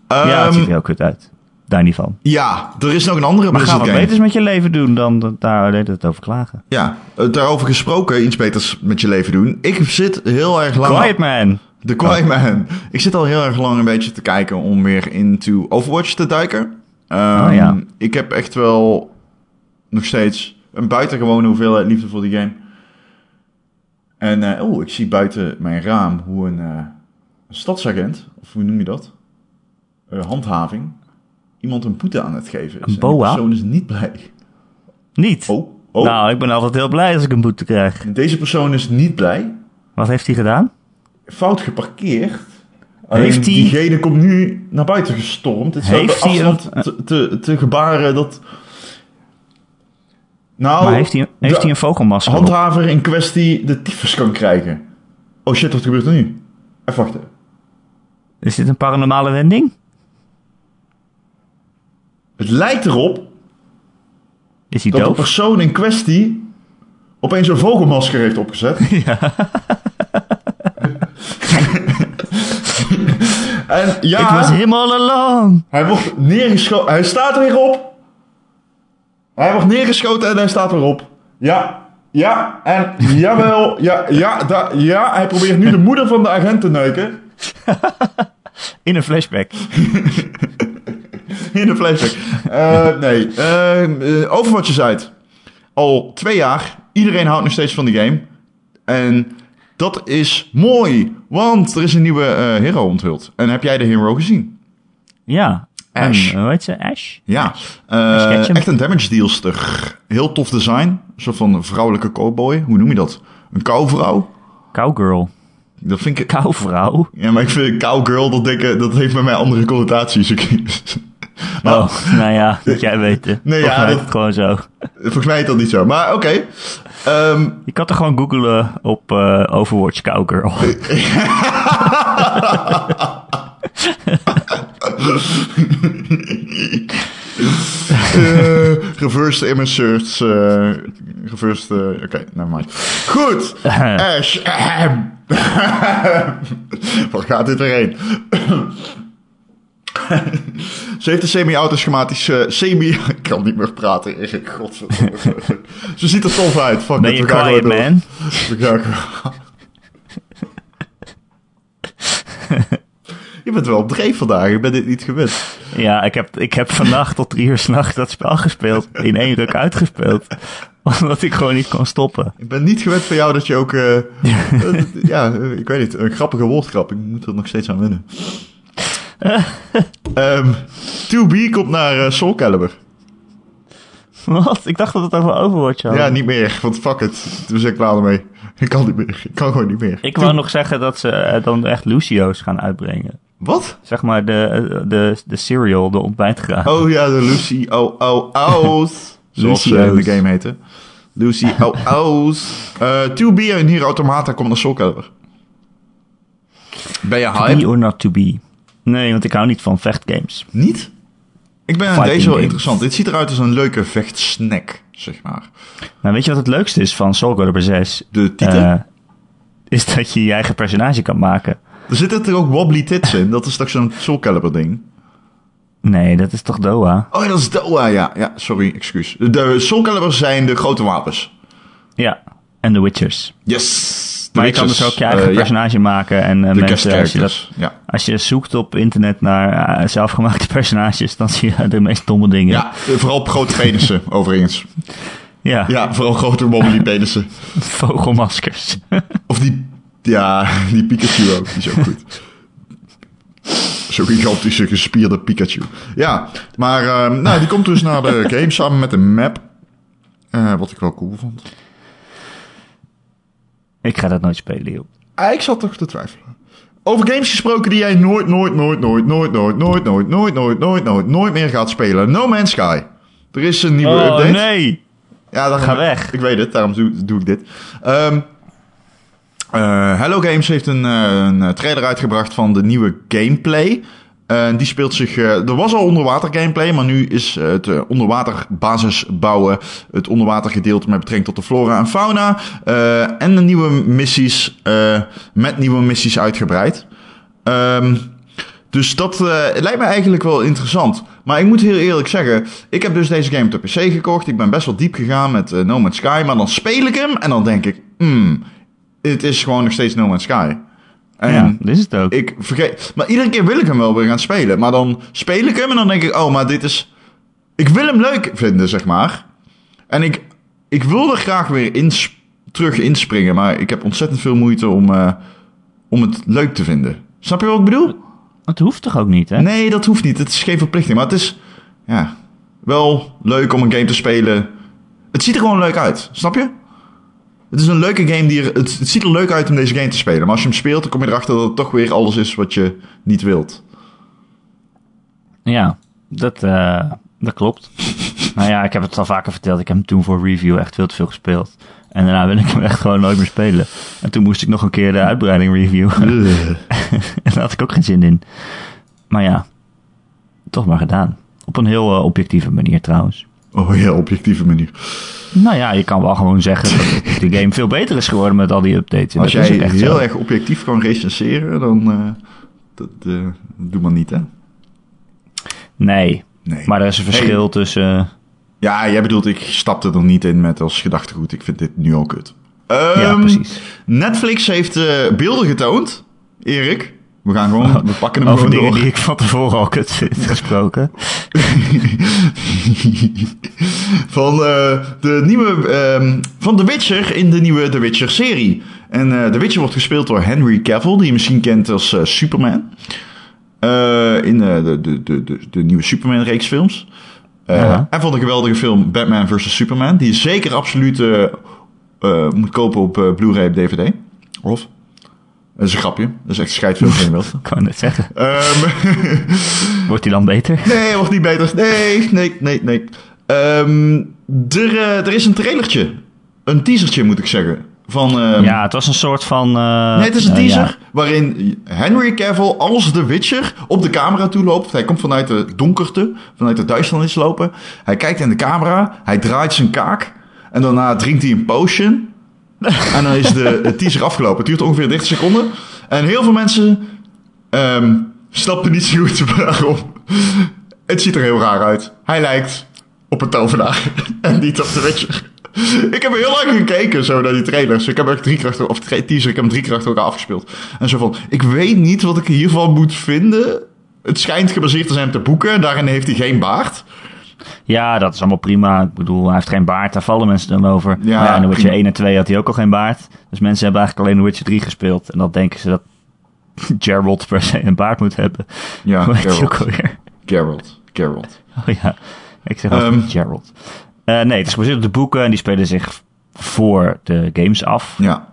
Speaker 1: het
Speaker 2: Ehm,
Speaker 1: ziet er heel kut uit. Daar niet van.
Speaker 2: ja, er is nog een andere
Speaker 1: Maar ga
Speaker 2: Blizzard
Speaker 1: wat
Speaker 2: game.
Speaker 1: beters met je leven doen dan dat- daar deed het over klagen.
Speaker 2: Ja, eh, daarover gesproken, iets beters met je leven doen. Ik zit heel erg lang...
Speaker 1: Quiet Oh. man!
Speaker 2: De Quiet Man. Ik zit al heel erg lang een beetje te kijken om weer into Overwatch te duiken. Ehm,
Speaker 1: Oh, ja.
Speaker 2: Ik heb echt wel nog steeds een buitengewone hoeveelheid liefde voor die game. En eh oh, ik zie buiten mijn raam hoe een, eh, een stadsagent, of hoe noem je dat? Eh, handhaving. Iemand een boete aan het geven is.
Speaker 1: Een boa?
Speaker 2: En die persoon is niet blij.
Speaker 1: Niet!
Speaker 2: Oh, oh.
Speaker 1: Nou, ik ben altijd heel blij als ik een boete krijg.
Speaker 2: Deze persoon is niet blij.
Speaker 1: Wat heeft hij gedaan?
Speaker 2: fout geparkeerd.
Speaker 1: Heeft
Speaker 2: Alleen
Speaker 1: hij-
Speaker 2: Diegene komt nu naar buiten gestormd. Het is wel
Speaker 1: Heeft
Speaker 2: de
Speaker 1: hij
Speaker 2: afstand te, te, te gebaren dat... Nou,
Speaker 1: maar heeft hij, heeft
Speaker 2: de
Speaker 1: hij een vogelmasker op?
Speaker 2: handhaver in kwestie de tyfus kan krijgen. Oh shit, wat gebeurt er nu? Even wachten.
Speaker 1: Is dit een paranormale wending?
Speaker 2: Het lijkt erop
Speaker 1: Is hij
Speaker 2: dat de
Speaker 1: doof?
Speaker 2: persoon in kwestie opeens een vogelmasker heeft opgezet. en ja,
Speaker 1: Ik was him all along.
Speaker 2: Hij wordt neergeschoten. Hij staat er weer op. Hij wordt neergeschoten en hij staat weer op. Ja. Ja. En jawel. Ja. Ja. da- ja. Hij probeert nu de moeder van de agent te neuken.
Speaker 1: In een flashback.
Speaker 2: in de flashback. Eh, nee, Eh, eh, Overwatch is uit. Al twee jaar. Iedereen houdt nog steeds van de game. En dat is mooi, want er is een nieuwe eh, hero onthuld. En heb jij de hero gezien?
Speaker 1: Ja.
Speaker 2: Ash.
Speaker 1: En, hoe heet ze? Ash?
Speaker 2: Ja,
Speaker 1: Ash
Speaker 2: Eh,
Speaker 1: Ketchum.
Speaker 2: echt een damage dealster. Heel tof design. Een soort van vrouwelijke cowboy. Hoe noem je dat? Een cowvrouw?
Speaker 1: Cowgirl.
Speaker 2: Dat vind ik...
Speaker 1: Cowvrouw?
Speaker 2: Ja, maar ik vind cowgirl, dat, denk ik, dat heeft bij mij andere connotaties. Ik-
Speaker 1: Oh, nou ja, dat jij weet. Nee,
Speaker 2: Nee, ja,
Speaker 1: ja,
Speaker 2: dat-
Speaker 1: het gewoon zo.
Speaker 2: Volgens mij is dat niet zo. Maar oké. Ehm,
Speaker 1: Je kan toch gewoon googlen op eh, Overwatch Cowgirl.
Speaker 2: eh, reversed image search. eh, reversed... eh, Oké, never mind. Goed. Ash. ahem. Wat gaat dit weer heen? Ze heeft een semi-autoschematische... eh, semi... Ik kan niet meer praten, Erik. Godverdomme. Ze ziet er tof uit. Fuck
Speaker 1: Ben
Speaker 2: it,
Speaker 1: je
Speaker 2: we gaan
Speaker 1: quiet
Speaker 2: gewoon door.
Speaker 1: man?
Speaker 2: We gaan gewoon- Je bent wel op dreef vandaag. Ik ben dit niet gewend.
Speaker 1: Ja, ik heb, ik heb vannacht tot drie uur s'nachts dat spel gespeeld. In één ruk uitgespeeld. Omdat ik gewoon niet kon stoppen.
Speaker 2: Ik ben niet gewend van jou dat je ook... eh, eh, ja, eh, ik weet niet. Een grappige woordgrap. Ik moet er nog steeds aan wennen. Ehm 2B komt naar eh, Soul Calibur.
Speaker 1: Wat? Ik dacht dat het over Overwatch had.
Speaker 2: Ja, niet meer. Want fuck it. Toen ben ik klaar ermee. Ik kan niet meer. Ik kan gewoon niet meer.
Speaker 1: Ik wou nog zeggen dat ze eh, dan echt Lucio's gaan uitbrengen.
Speaker 2: Wat?
Speaker 1: Zeg maar de, eh, de, de cereal, de ontbijtgraad.
Speaker 2: Oh ja, de Lucy Oh Oh O's. Zoals ze in
Speaker 1: O's.
Speaker 2: de game heten. Lucy Oh O's. Eh 2B en hier Automata komt naar Soul Calibur. Ben je
Speaker 1: To be
Speaker 2: hype?
Speaker 1: or not to be. Nee, want ik hou niet van vechtgames.
Speaker 2: Niet? Ik ben aan
Speaker 1: Fighting
Speaker 2: deze wel
Speaker 1: games.
Speaker 2: interessant. Dit ziet eruit als een leuke vechtsnack, zeg maar.
Speaker 1: Maar weet je wat het leukste is van Soul Calibur 6?
Speaker 2: De titel?
Speaker 1: Eh, is dat je je eigen personage kan maken.
Speaker 2: Er zitten er ook wobbly tits in. Dat is toch zo'n Soul Calibur ding?
Speaker 1: Nee, dat is toch Doha?
Speaker 2: Oh, ja, dat is Doa, ja. Ja, sorry, excuus. De Soul Calibur zijn de grote wapens.
Speaker 1: Ja, en The Witchers.
Speaker 2: Yes! De
Speaker 1: Maar je kan
Speaker 2: witches.
Speaker 1: dus ook je eigen
Speaker 2: Eh, ja,
Speaker 1: personage maken. En eh,
Speaker 2: de guest
Speaker 1: mensen, als je, dat,
Speaker 2: characters. Ja.
Speaker 1: als je zoekt op internet naar eh, zelfgemaakte personages, dan zie je de meest domme dingen.
Speaker 2: ja, eh, vooral op grote penissen, overigens.
Speaker 1: Ja,
Speaker 2: Ja, vooral grote wobbly penissen.
Speaker 1: vogelmaskers.
Speaker 2: Of die... Ja, die Pikachu ook. Die is ook goed. Zo'n gigantische gespierde Pikachu. Ja, maar ehm, nou, die komt dus naar de game samen met een map. Eh, wat ik wel cool vond.
Speaker 1: ik ga dat nooit spelen, joh.
Speaker 2: Ah, ik zat toch te twijfelen. Over games gesproken die jij nooit, nooit, nooit, nooit, nooit, nooit, nooit, nooit, nooit, nooit, nooit, nooit, nooit meer gaat spelen. No Man's Sky. Er is een nieuwe
Speaker 1: Oh
Speaker 2: update.
Speaker 1: nee!
Speaker 2: Ja, daarom,
Speaker 1: Ga weg.
Speaker 2: Ik weet het, daarom doe, doe ik dit. Ehm, eh, Hello Games heeft een, eh, een eh, trailer uitgebracht van de nieuwe gameplay. Eh, die speelt zich. eh, er was al onderwater gameplay, maar nu is eh, het eh, onderwater basis bouwen. Het onderwater gedeelte met betrekking tot de flora en fauna. eh, en de nieuwe missies. eh, met nieuwe missies uitgebreid. Ehm, dus dat eh, het lijkt me eigenlijk wel interessant. Maar ik moet heel eerlijk zeggen, ik heb dus deze game op de PC gekocht. Ik ben best wel diep gegaan met eh, No Man's Sky. Maar dan speel ik hem en dan denk ik, hmm, het is gewoon nog steeds No Man's Sky. En
Speaker 1: Ja, dit is het ook.
Speaker 2: ik vergeet. Maar iedere keer wil ik hem wel weer gaan spelen. Maar dan speel ik hem en dan denk ik, oh, maar dit is. Ik wil hem leuk vinden, zeg maar. En ik, ik wil er graag weer ins- terug inspringen. Maar ik heb ontzettend veel moeite om, eh, om het leuk te vinden. Snap je wat ik bedoel?
Speaker 1: Het hoeft toch ook niet, hè?
Speaker 2: Nee, dat hoeft niet. Het is geen verplichting. Maar het is ja, wel leuk om een game te spelen. Het ziet er gewoon leuk uit. Snap je? Het is een leuke game die er. Het, het ziet er leuk uit om deze game te spelen. Maar als je hem speelt, dan kom je erachter dat het toch weer alles is wat je niet wilt.
Speaker 1: Ja, dat, eh, dat klopt. nou ja, ik heb het al vaker verteld. Ik heb hem toen voor review echt veel te veel gespeeld. En daarna wil ik hem echt gewoon nooit meer spelen. En toen moest ik nog een keer de uitbreiding reviewen. en daar had ik ook geen zin in. Maar ja, toch maar gedaan. Op een heel eh, objectieve manier trouwens.
Speaker 2: Oh ja, objectieve manier.
Speaker 1: Nou ja, je kan wel gewoon zeggen dat de game veel beter is geworden met al die updates. En
Speaker 2: Als
Speaker 1: dat is
Speaker 2: jij
Speaker 1: ook echt
Speaker 2: heel
Speaker 1: zo.
Speaker 2: erg objectief kan recenseren, dan. eh, dat eh, doe maar niet, hè?
Speaker 1: Nee,
Speaker 2: Nee.
Speaker 1: maar er is een verschil tussen... eh,
Speaker 2: Ja, jij bedoelt, ik stapte er niet in met als gedachtegoed. Ik vind dit nu al kut.
Speaker 1: ja,
Speaker 2: Ehm,
Speaker 1: precies.
Speaker 2: Netflix heeft eh, beelden getoond, Erik. We gaan gewoon, we pakken hem
Speaker 1: Over
Speaker 2: gewoon
Speaker 1: dingen
Speaker 2: door.
Speaker 1: die ik van tevoren al kut vind gesproken.
Speaker 2: van, eh, de nieuwe, ehm, van The Witcher in de nieuwe The Witcher serie. En eh, The Witcher wordt gespeeld door Henry Cavill, die je misschien kent als eh, Superman. Eh, in eh, de, de, de, de, de nieuwe Superman reeks films. Eh,
Speaker 1: Ja.
Speaker 2: En van de geweldige film Batman vs. Superman, die je zeker absoluut eh, eh, moet kopen op eh, Blu-ray op DVD. Of? Dat is een grapje. Dat is echt een scheidfilm van je wilt.
Speaker 1: Ik kan het zeggen.
Speaker 2: Ehm,
Speaker 1: Wordt die dan beter?
Speaker 2: Nee, wordt niet beter. Nee, nee, nee, nee. Ehm, er, eh, er is een trailertje. Een teasertje, moet ik zeggen. Van, ehm,
Speaker 1: ja, het was een soort van... eh,
Speaker 2: Nee, het is een teaser waarin Henry Cavill als de Witcher op de camera toe loopt. Hij komt vanuit de donkerte, vanuit de duisternis lopen. Hij kijkt in de camera, hij draait zijn kaak en daarna drinkt hij een potion. En dan is de de teaser afgelopen. Het duurt ongeveer 30 seconden. En heel veel mensen ehm, snapten niet zo goed waarom. Het ziet er heel raar uit. Hij lijkt op een tovenaar en niet op de Witcher. Ik heb heel lang gekeken zo naar die trailers. Ik heb echt drie keer achter, of tra- teaser, ik heb hem drie keer achter elkaar afgespeeld. En zo van, ik weet niet wat ik hiervan moet vinden. Het schijnt gebaseerd te zijn op de boeken. Daarin heeft hij geen baard.
Speaker 1: Ja, dat is allemaal prima. Ik bedoel, hij heeft geen baard. Daar vallen mensen dan over.
Speaker 2: Ja,
Speaker 1: Ja, en de Witcher
Speaker 2: prima.
Speaker 1: 1 en 2 had hij ook al geen baard. Dus mensen hebben eigenlijk alleen de Witcher 3 gespeeld. En dan denken ze dat Geralt per se een baard moet hebben.
Speaker 2: Ja,
Speaker 1: Hoe heet hij ook
Speaker 2: Geralt.
Speaker 1: alweer?
Speaker 2: Geralt. Geralt.
Speaker 1: Oh ja, ik zeg altijd
Speaker 2: Ehm.
Speaker 1: Geralt. Eh, nee, het is gebaseerd op de boeken en die spelen zich voor de games af.
Speaker 2: Ja.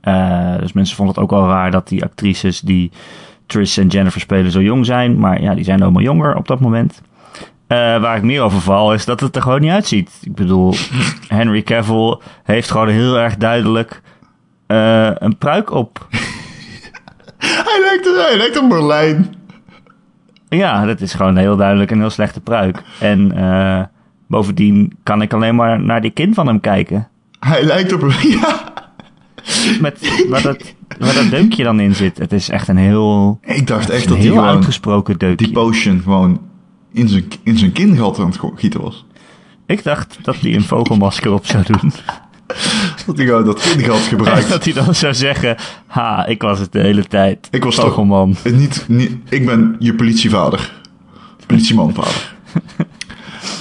Speaker 1: Eh, dus mensen vonden het ook al raar dat die actrices die Triss en Jennifer spelen zo jong zijn. Maar ja, die zijn allemaal jonger op dat moment. Eh, waar ik meer over val is dat het er gewoon niet uitziet. Ik bedoel, Henry Cavill heeft gewoon heel erg duidelijk eh, een pruik op.
Speaker 2: Hij lijkt, hij lijkt op Merlijn.
Speaker 1: Ja, dat is gewoon heel duidelijk een heel slechte pruik. En eh, bovendien kan ik alleen maar naar die kin van hem kijken.
Speaker 2: Hij lijkt op... Ja.
Speaker 1: Met waar dat, waar dat deukje dan in zit. Het is echt een heel,
Speaker 2: Ik dacht echt
Speaker 1: een
Speaker 2: dat hij
Speaker 1: heel
Speaker 2: gewoon
Speaker 1: uitgesproken deukje.
Speaker 2: die potion gewoon in zijn, in zijn kingat aan het go- gieten was.
Speaker 1: Ik dacht dat hij een vogelmasker op zou doen.
Speaker 2: Dat hij gewoon dat kindgat
Speaker 1: En
Speaker 2: gebruikt.
Speaker 1: dat hij dan zou zeggen: Ha, ik was het de hele tijd.
Speaker 2: Ik was toch-
Speaker 1: vogelman.
Speaker 2: Eh, Niet, niet, ik ben je politievader. Politiemanvader.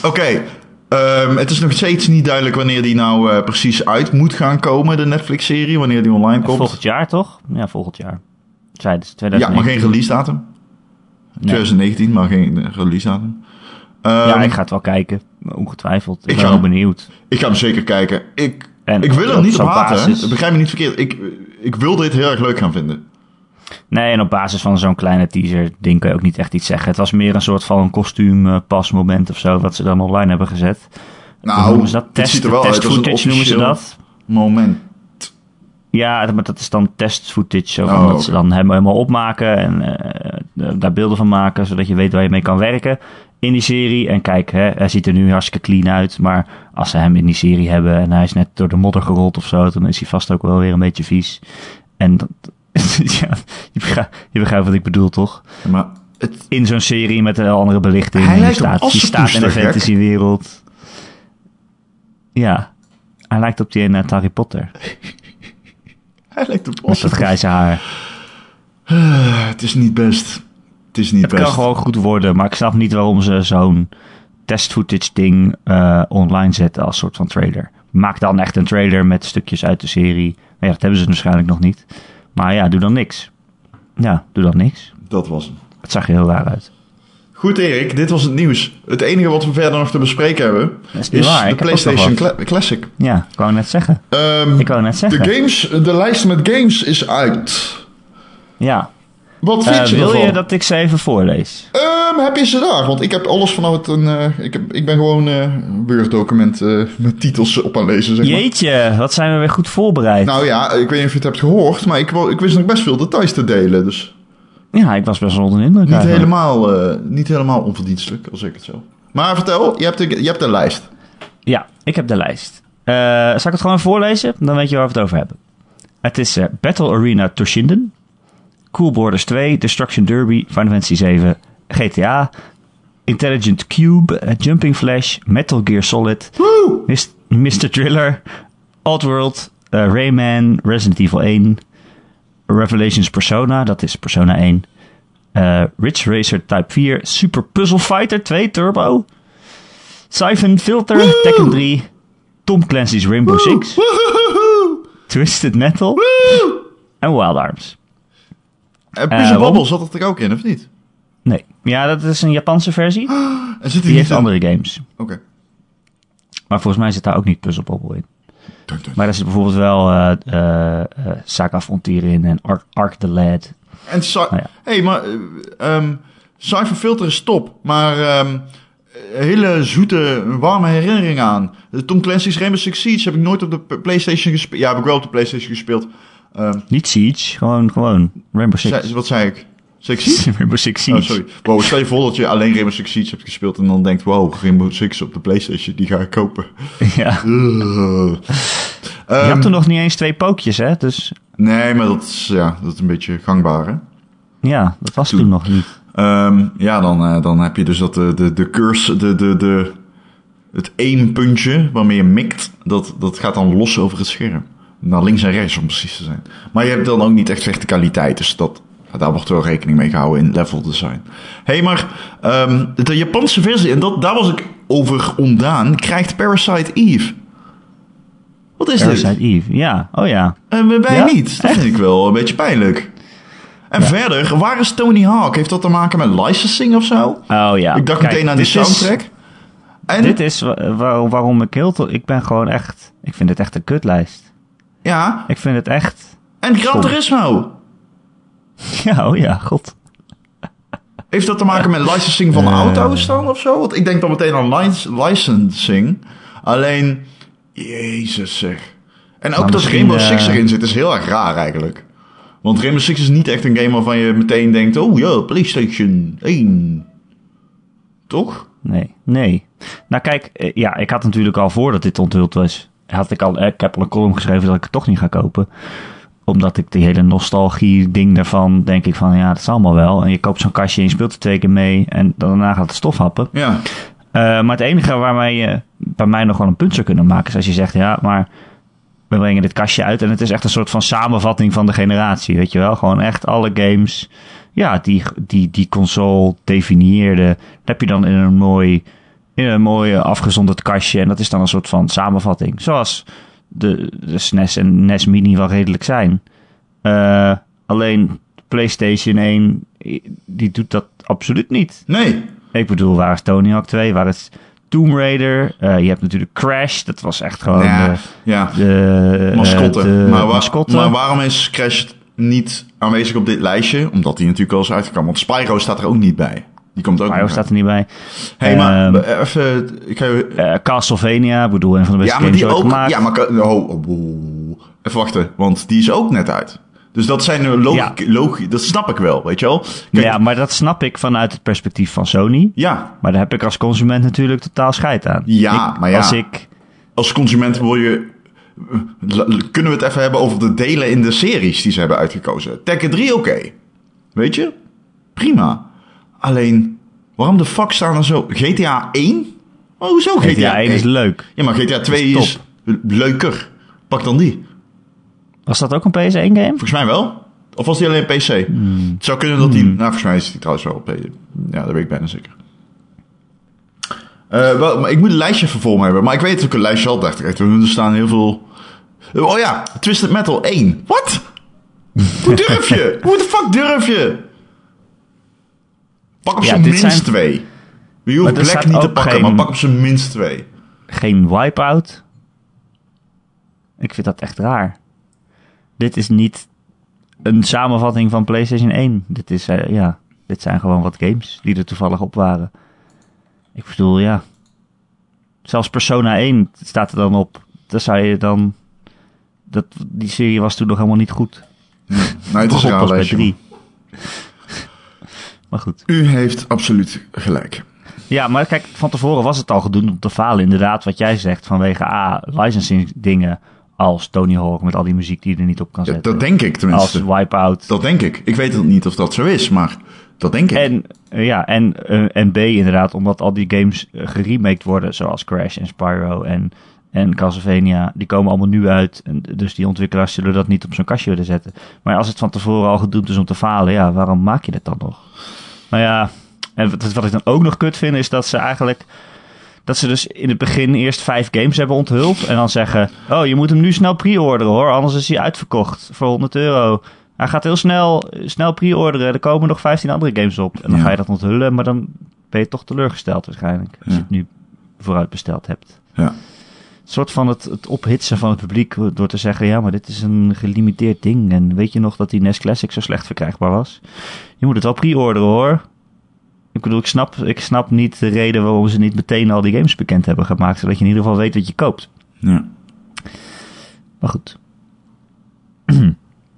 Speaker 2: Oké. ehm, het is nog steeds niet duidelijk wanneer die nou eh, precies uit moet gaan komen, de Netflix-serie. Wanneer die online komt.
Speaker 1: Volgend jaar toch? Ja, volgend jaar. Zeiden ze
Speaker 2: Ja,
Speaker 1: 2019.
Speaker 2: maar geen release datum.
Speaker 1: Nee.
Speaker 2: 2019, maar geen eh, release datum. Ehm,
Speaker 1: Ja, ik
Speaker 2: ik,
Speaker 1: ga het wel kijken. Ongetwijfeld. Ik,
Speaker 2: Ik
Speaker 1: ben
Speaker 2: ga-
Speaker 1: wel benieuwd.
Speaker 2: ga hem zeker kijken. Ik,
Speaker 1: En
Speaker 2: ik wil er
Speaker 1: op
Speaker 2: niet op
Speaker 1: zo'n
Speaker 2: haten.
Speaker 1: basis-
Speaker 2: hè. Begrijp me niet verkeerd. Ik, ik wil dit heel erg leuk gaan vinden.
Speaker 1: Nee, en op basis van zo'n kleine teaser-ding kan je ook niet echt iets zeggen. Het was meer een soort van kostuumpasmoment of zo, wat ze dan online hebben gezet. Hoe
Speaker 2: Nou,
Speaker 1: noemen ze dat?
Speaker 2: dit
Speaker 1: Test,
Speaker 2: ziet er wel
Speaker 1: test
Speaker 2: uit als een
Speaker 1: footage noemen ze
Speaker 2: officieel
Speaker 1: dat.
Speaker 2: moment.
Speaker 1: Ja, maar dat is dan test footage. Zo, van
Speaker 2: Oh,
Speaker 1: dat
Speaker 2: oké.
Speaker 1: ze dan hem helemaal opmaken en eh, daar beelden van maken, zodat je weet waar je mee kan werken in die serie. En kijk, hè, hij ziet er nu hartstikke clean uit, maar als ze hem in die serie hebben en hij is net door de modder gerold of zo, dan is hij vast ook wel weer een beetje vies. En dat, ja, je, begrijpt, je begrijpt wat ik bedoel, toch?
Speaker 2: Maar het,
Speaker 1: In zo'n serie met een heel andere belichting.
Speaker 2: Hij
Speaker 1: En
Speaker 2: lijkt
Speaker 1: je
Speaker 2: op
Speaker 1: staat, je staat in een
Speaker 2: Assepoester, gek.
Speaker 1: fantasywereld. Ja, hij lijkt op die in uit Harry Potter.
Speaker 2: hij lijkt op
Speaker 1: Met dat
Speaker 2: Oscar.
Speaker 1: grijze haar.
Speaker 2: Het is niet best. Het is niet
Speaker 1: Het
Speaker 2: best.
Speaker 1: kan gewoon goed worden, maar ik snap niet waarom ze zo'n test footage ding eh, online zetten als soort van trailer. Maak dan echt een trailer met stukjes uit de serie. Nou ja, dat hebben ze waarschijnlijk nog niet. Maar ja, doe dan niks. Ja, doe dan niks.
Speaker 2: Dat was hem.
Speaker 1: Het zag er heel raar uit.
Speaker 2: Goed Erik, dit was het nieuws. Het enige wat we verder nog te bespreken hebben...
Speaker 1: is niet waar,
Speaker 2: dus
Speaker 1: ik
Speaker 2: de
Speaker 1: heb ook
Speaker 2: PlayStation
Speaker 1: nog wat.
Speaker 2: Cla- Classic.
Speaker 1: Ja, ik wou net zeggen.
Speaker 2: Ehm,
Speaker 1: Ik wou net
Speaker 2: de,
Speaker 1: zeggen.
Speaker 2: games, de lijst met games is uit.
Speaker 1: Ja.
Speaker 2: Wat
Speaker 1: Eh,
Speaker 2: vind je
Speaker 1: wil
Speaker 2: ervan?
Speaker 1: je dat ik ze even voorlees?
Speaker 2: Ehm, heb je ze daar? Want ik heb alles vanuit een... eh, ik, heb, ik ben gewoon eh, een Word-document eh, met titels op aan lezen, zeg maar.
Speaker 1: Jeetje, wat zijn we weer goed voorbereid.
Speaker 2: Nou ja, ik weet niet of je het hebt gehoord, maar ik, wou- ik wist nog best veel details te delen. Dus
Speaker 1: ja, ik was best wel onder de indruk.
Speaker 2: niet,
Speaker 1: eigenlijk.
Speaker 2: helemaal, eh, niet helemaal onverdienstelijk, als ik het zo... Maar vertel, je hebt de, je hebt de lijst.
Speaker 1: Ja, ik heb de lijst. Eh, zal ik het gewoon voorlezen? Dan weet je waar we het over hebben. Het is eh, Battle Arena Toshinden, Cool Borders 2, Destruction Derby, Final Fantasy 7, GTA, Intelligent Cube, eh, Jumping Flash, Metal Gear Solid,
Speaker 2: Woe!
Speaker 1: Mis- Mr. Driller, Oddworld, eh, Rayman, Resident Evil 1, Revelations Persona, dat is Persona 1. Eh Ridge Racer Type 4, Super Puzzle Fighter 2 Turbo, Siphon Filter, Tekken 3, Tom Clancy's Rainbow Six,
Speaker 2: Eh, Woehoehoe!
Speaker 1: Twisted Metal
Speaker 2: Woe!
Speaker 1: en Wild Arms.
Speaker 2: En
Speaker 1: Eh,
Speaker 2: Puzzle
Speaker 1: waarom?
Speaker 2: Bobble zat dat er ook in, of niet?
Speaker 1: Nee, ja, dat is een Japanse versie.
Speaker 2: En zit
Speaker 1: Die
Speaker 2: niet
Speaker 1: heeft
Speaker 2: in?
Speaker 1: andere games.
Speaker 2: Oké.
Speaker 1: Maar volgens mij zit daar ook niet Puzzle Bobble in.
Speaker 2: Dun, dun.
Speaker 1: Maar daar zit bijvoorbeeld wel eh eh eh Saga Frontier in en Ark, Ark the Lad.
Speaker 2: En Cy-
Speaker 1: Ah, ja.
Speaker 2: hey, maar eh, ehm Cypher Filter is top, maar ehm, hele zoete, warme herinneringen aan. Tom Clancy's Rainbow Six Siege heb ik nooit op de P- PlayStation gespeeld. Ja, heb ik wel op de PlayStation gespeeld. Ehm,
Speaker 1: Niet Siege, gewoon, gewoon Rainbow Six.
Speaker 2: zei- wat zei ik? Six Siege?
Speaker 1: Rainbow Six Siege.
Speaker 2: Oh, sorry. Wow, stel je voor dat je alleen Rainbow Six Siege hebt gespeeld en dan denkt, wow, Rainbow Six op de PlayStation, die ga ik kopen. Eh,
Speaker 1: Ja. Je
Speaker 2: Ugh. Ehm,
Speaker 1: had toen nog niet eens twee pookjes, hè? Dus
Speaker 2: Nee, maar dat is, ja, dat is een beetje gangbaar, hè?
Speaker 1: ja, dat was toen, nog niet.
Speaker 2: Ehm, ja, dan, eh, dan heb je dus dat de, de, de curse, de, de, de, het één puntje waarmee je mikt, dat, dat gaat dan los over het scherm. Naar links en rechts om precies te zijn. Maar je hebt dan ook niet echt verticaliteit, dus dat, daar wordt wel rekening mee gehouden in level design. Hé, hey, maar ehm, de Japanse versie, en dat, daar was ik over ontdaan, krijgt Parasite Eve. Wat is dit?
Speaker 1: Parasite Eve. Ja, oh ja.
Speaker 2: En wij
Speaker 1: Ja?
Speaker 2: niet. Dat vind ik wel een beetje pijnlijk. En verder, waar is Tony Hawk? Heeft dat te maken met licensing of zo?
Speaker 1: Oh ja.
Speaker 2: ik dacht
Speaker 1: Kijk,
Speaker 2: meteen aan die
Speaker 1: dit is-
Speaker 2: soundtrack. en
Speaker 1: dit is wa- wa- waarom ik heel... to- Ik ben gewoon echt... Ik vind het echt een kutlijst.
Speaker 2: ja,
Speaker 1: Ik vind het echt...
Speaker 2: en Gran
Speaker 1: Stom.
Speaker 2: Turismo.
Speaker 1: Ja, oh ja, god.
Speaker 2: Heeft dat te maken met
Speaker 1: Eh.
Speaker 2: licensing van auto's dan of zo? Want ik denk dan meteen aan lic- licensing. Alleen, jezus zeg. En ook
Speaker 1: Nou,
Speaker 2: dat
Speaker 1: misschien,
Speaker 2: Rainbow
Speaker 1: eh,
Speaker 2: Six erin zit is heel erg raar eigenlijk. Want Rainbow Six is niet echt een game waarvan je meteen denkt... Oh ja, PlayStation 1. Toch?
Speaker 1: Nee, nee. Nou kijk, eh, ja, ik had natuurlijk al voordat dit onthuld was, had ik al, eh, ik heb al een column geschreven dat ik het toch niet ga kopen. Omdat ik die hele nostalgie ding daarvan, denk ik van, ja, dat is allemaal wel. En je koopt zo'n kastje en je speelt er twee keer mee en dan- daarna gaat het stof happen.
Speaker 2: Ja.
Speaker 1: Eh, maar het enige waarmee je bij mij nog wel een punt zou kunnen maken, is als je zegt, ja, maar we brengen dit kastje uit en het is echt een soort van samenvatting van de generatie, weet je wel? Gewoon echt alle games, ja, die, die, die console definieerde, dat heb je dan in een mooi, in een mooi afgezonderd kastje en dat is dan een soort van samenvatting. Zoals de, de SNES en NES Mini wel redelijk zijn. Eh, alleen PlayStation 1, die doet dat absoluut niet.
Speaker 2: Nee.
Speaker 1: Ik bedoel, waar is Tony Hawk 2? Waar is Tomb Raider? Eh, je hebt natuurlijk Crash. Dat was echt gewoon
Speaker 2: ja.
Speaker 1: de,
Speaker 2: ja.
Speaker 1: de, eh,
Speaker 2: mascotte.
Speaker 1: de
Speaker 2: maar, wa-
Speaker 1: mascotte.
Speaker 2: maar waarom is Crash niet aanwezig op dit lijstje? Omdat die natuurlijk al is uitgekomen. Want Spyro staat er ook niet bij. Die komt ook
Speaker 1: Mario
Speaker 2: niet bij.
Speaker 1: staat er niet bij.
Speaker 2: Hey, maar
Speaker 1: Ehm,
Speaker 2: eh, even... Ik ga je-
Speaker 1: eh, Castlevania, ik bedoel, een van de beste
Speaker 2: ja, maar
Speaker 1: games
Speaker 2: die
Speaker 1: ooit
Speaker 2: ook...
Speaker 1: gemaakt.
Speaker 2: Ja, maar... ka- Oh, oh, oh. even wachten. Want die is ook net uit. Dus dat zijn eh, logi
Speaker 1: Ja.
Speaker 2: logi- Dat snap ik wel, weet je wel? Kijk,
Speaker 1: ja, maar dat snap ik vanuit het perspectief van Sony.
Speaker 2: ja.
Speaker 1: Maar daar heb ik als consument natuurlijk totaal scheid aan.
Speaker 2: Ja,
Speaker 1: Ik-
Speaker 2: maar ja.
Speaker 1: Als ik...
Speaker 2: Als consument wil je... eh, la- Kunnen we het even hebben over de delen in de series die ze hebben uitgekozen? Tekken 3, oké. Weet je? Prima. Alleen, waarom de fuck staan er zo... GTA 1? Oh, hoezo GTA,
Speaker 1: GTA 1 is leuk.
Speaker 2: Ja, maar GTA 2
Speaker 1: Is
Speaker 2: is, leuker. Pak dan die.
Speaker 1: Was dat ook een PS1 game?
Speaker 2: Volgens mij wel. Of was die alleen PC?
Speaker 1: Hmm.
Speaker 2: Het zou kunnen dat die... Nou, volgens mij is die trouwens wel op... PC. Ja, dat weet ik bijna zeker. Eh, wel, maar ik moet een lijstje voor me hebben. Maar ik weet dat ik een lijstje al dacht. ik. Er staan heel veel... Oh ja, Twisted Metal 1. Wat? Hoe durf je? Hoe de fuck durf je? Pak op
Speaker 1: Ja,
Speaker 2: zijn
Speaker 1: dit
Speaker 2: minst
Speaker 1: zijn-
Speaker 2: twee. Je hoeft
Speaker 1: Maar er
Speaker 2: Black
Speaker 1: staat
Speaker 2: niet te
Speaker 1: ook
Speaker 2: pakken,
Speaker 1: geen-
Speaker 2: maar pak op zijn minst twee. Nou,
Speaker 1: Geen Wipeout? Ik vind dat echt raar. Dit is niet een samenvatting van PlayStation 1. Dit, is, eh, ja, dit zijn gewoon wat games die er toevallig op waren. Ik bedoel, ja. Zelfs Persona 1 staat er dan op. Daar zou je dan... Dat, die serie was toen nog helemaal niet goed.
Speaker 2: Nee, het is een
Speaker 1: Begon
Speaker 2: raar
Speaker 1: pas bij
Speaker 2: lijstje. man.
Speaker 1: 3. maar goed.
Speaker 2: U heeft absoluut gelijk.
Speaker 1: Ja, maar kijk, van tevoren was het al gedoemd om te falen. Inderdaad, wat jij zegt, vanwege A, licensing dingen als Tony Hawk met al die muziek die je er niet op kan
Speaker 2: Ja,
Speaker 1: zetten.
Speaker 2: dat denk ik
Speaker 1: als
Speaker 2: tenminste.
Speaker 1: Wipeout.
Speaker 2: Dat denk ik. Ik weet het niet of dat zo is, maar dat denk ik.
Speaker 1: En, eh, ja, en, eh, en B inderdaad, omdat al die games eh, geremaked worden, zoals Crash en Spyro en, en en Castlevania, die komen allemaal nu uit. En dus die ontwikkelaars zullen dat niet op zo'n kastje willen zetten. Maar als het van tevoren al gedoemd is om te falen, ja, waarom maak je dat dan nog? Nou ja, en wat, wat ik dan ook nog kut vind, is dat ze eigenlijk... Dat ze dus in het begin eerst vijf games hebben onthuld. En dan zeggen, oh, je moet hem nu snel pre-orderen hoor. Anders is hij uitverkocht voor 100 euro. Hij gaat heel snel, snel pre-orderen. Er komen nog 15 andere games op. En dan
Speaker 2: Ja.
Speaker 1: ga je dat onthullen, maar dan ben je toch teleurgesteld waarschijnlijk. Als je
Speaker 2: Ja.
Speaker 1: het nu vooruit besteld hebt
Speaker 2: Ja.
Speaker 1: een soort van het, het ophitsen van het publiek door te zeggen: ja, maar dit is een gelimiteerd ding. En weet je nog dat die NES Classic zo slecht verkrijgbaar was? Je moet het wel pre-orderen hoor. Ik bedoel, ik snap, ik snap niet de reden waarom ze niet meteen al die games bekend hebben gemaakt. Zodat je in ieder geval weet wat je koopt.
Speaker 2: ja.
Speaker 1: Maar goed.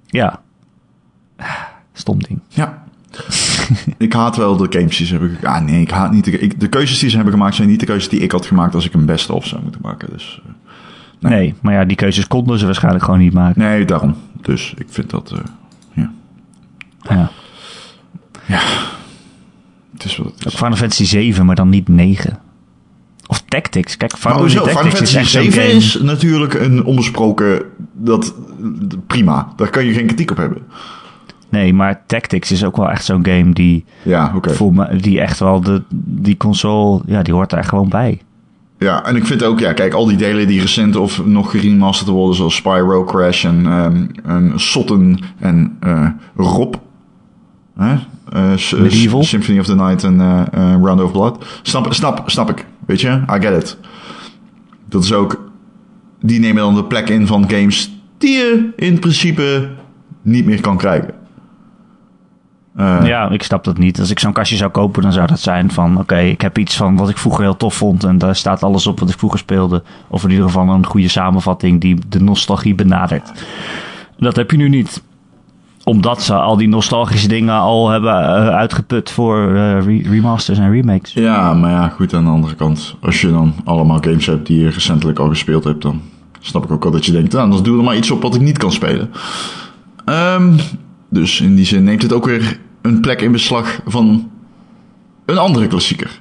Speaker 1: ja. Stom ding.
Speaker 2: Ja. ik haat wel de games die ze hebben ge- Ah nee, ik haat niet de, ik- de keuzes die ze hebben gemaakt zijn niet de keuzes die ik had gemaakt als ik een beste of zou moeten maken. Dus, eh,
Speaker 1: Nee. maar ja, die keuzes konden ze waarschijnlijk gewoon niet maken.
Speaker 2: nee, daarom. Dus ik vind dat... eh, ja.
Speaker 1: Ja.
Speaker 2: Het is wat het
Speaker 1: Ook
Speaker 2: is.
Speaker 1: Final Fantasy 7, maar dan niet 9. Of Tactics. Kijk, Final
Speaker 2: Maar hoezo?
Speaker 1: Fantasy
Speaker 2: Final
Speaker 1: Tactics is
Speaker 2: Fantasy
Speaker 1: echt zo'n
Speaker 2: 7
Speaker 1: game.
Speaker 2: is natuurlijk een onbesproken... Dat, prima, daar kan je geen kritiek op hebben.
Speaker 1: Nee, maar Tactics is ook wel echt zo'n game die,
Speaker 2: Ja, oké.
Speaker 1: voor me, die echt wel de, die console, ja, die hoort daar gewoon bij.
Speaker 2: Ja, en ik vind ook, ja, kijk, al die delen die recent of nog geremasterd worden, zoals Spyro Crash en, ehm, en Sotten en eh, Rob. Hè? Eh, S-
Speaker 1: Medieval.
Speaker 2: S- Symphony of the Night en eh eh, Round of Blood. Snap, snap, snap ik. Weet je, I get it. Dat is ook. Die nemen dan de plek in van games die je in principe niet meer kan krijgen. Eh,
Speaker 1: Ja, ik snap dat niet. Als ik zo'n kastje zou kopen, dan zou dat zijn van, oké, ik heb iets van wat ik vroeger heel tof vond en daar staat alles op wat ik vroeger speelde. Of in ieder geval een goede samenvatting die de nostalgie benadert. Dat heb je nu niet. Omdat ze al die nostalgische dingen al hebben eh, uitgeput voor eh, re- remasters en remakes.
Speaker 2: Ja, maar ja, goed, aan de andere kant. Als je dan allemaal games hebt die je recentelijk al gespeeld hebt, dan snap ik ook wel dat je denkt, nou, dan doe er maar iets op wat ik niet kan spelen. Ehm, dus in die zin neemt het ook weer een plek in beslag van een andere klassieker.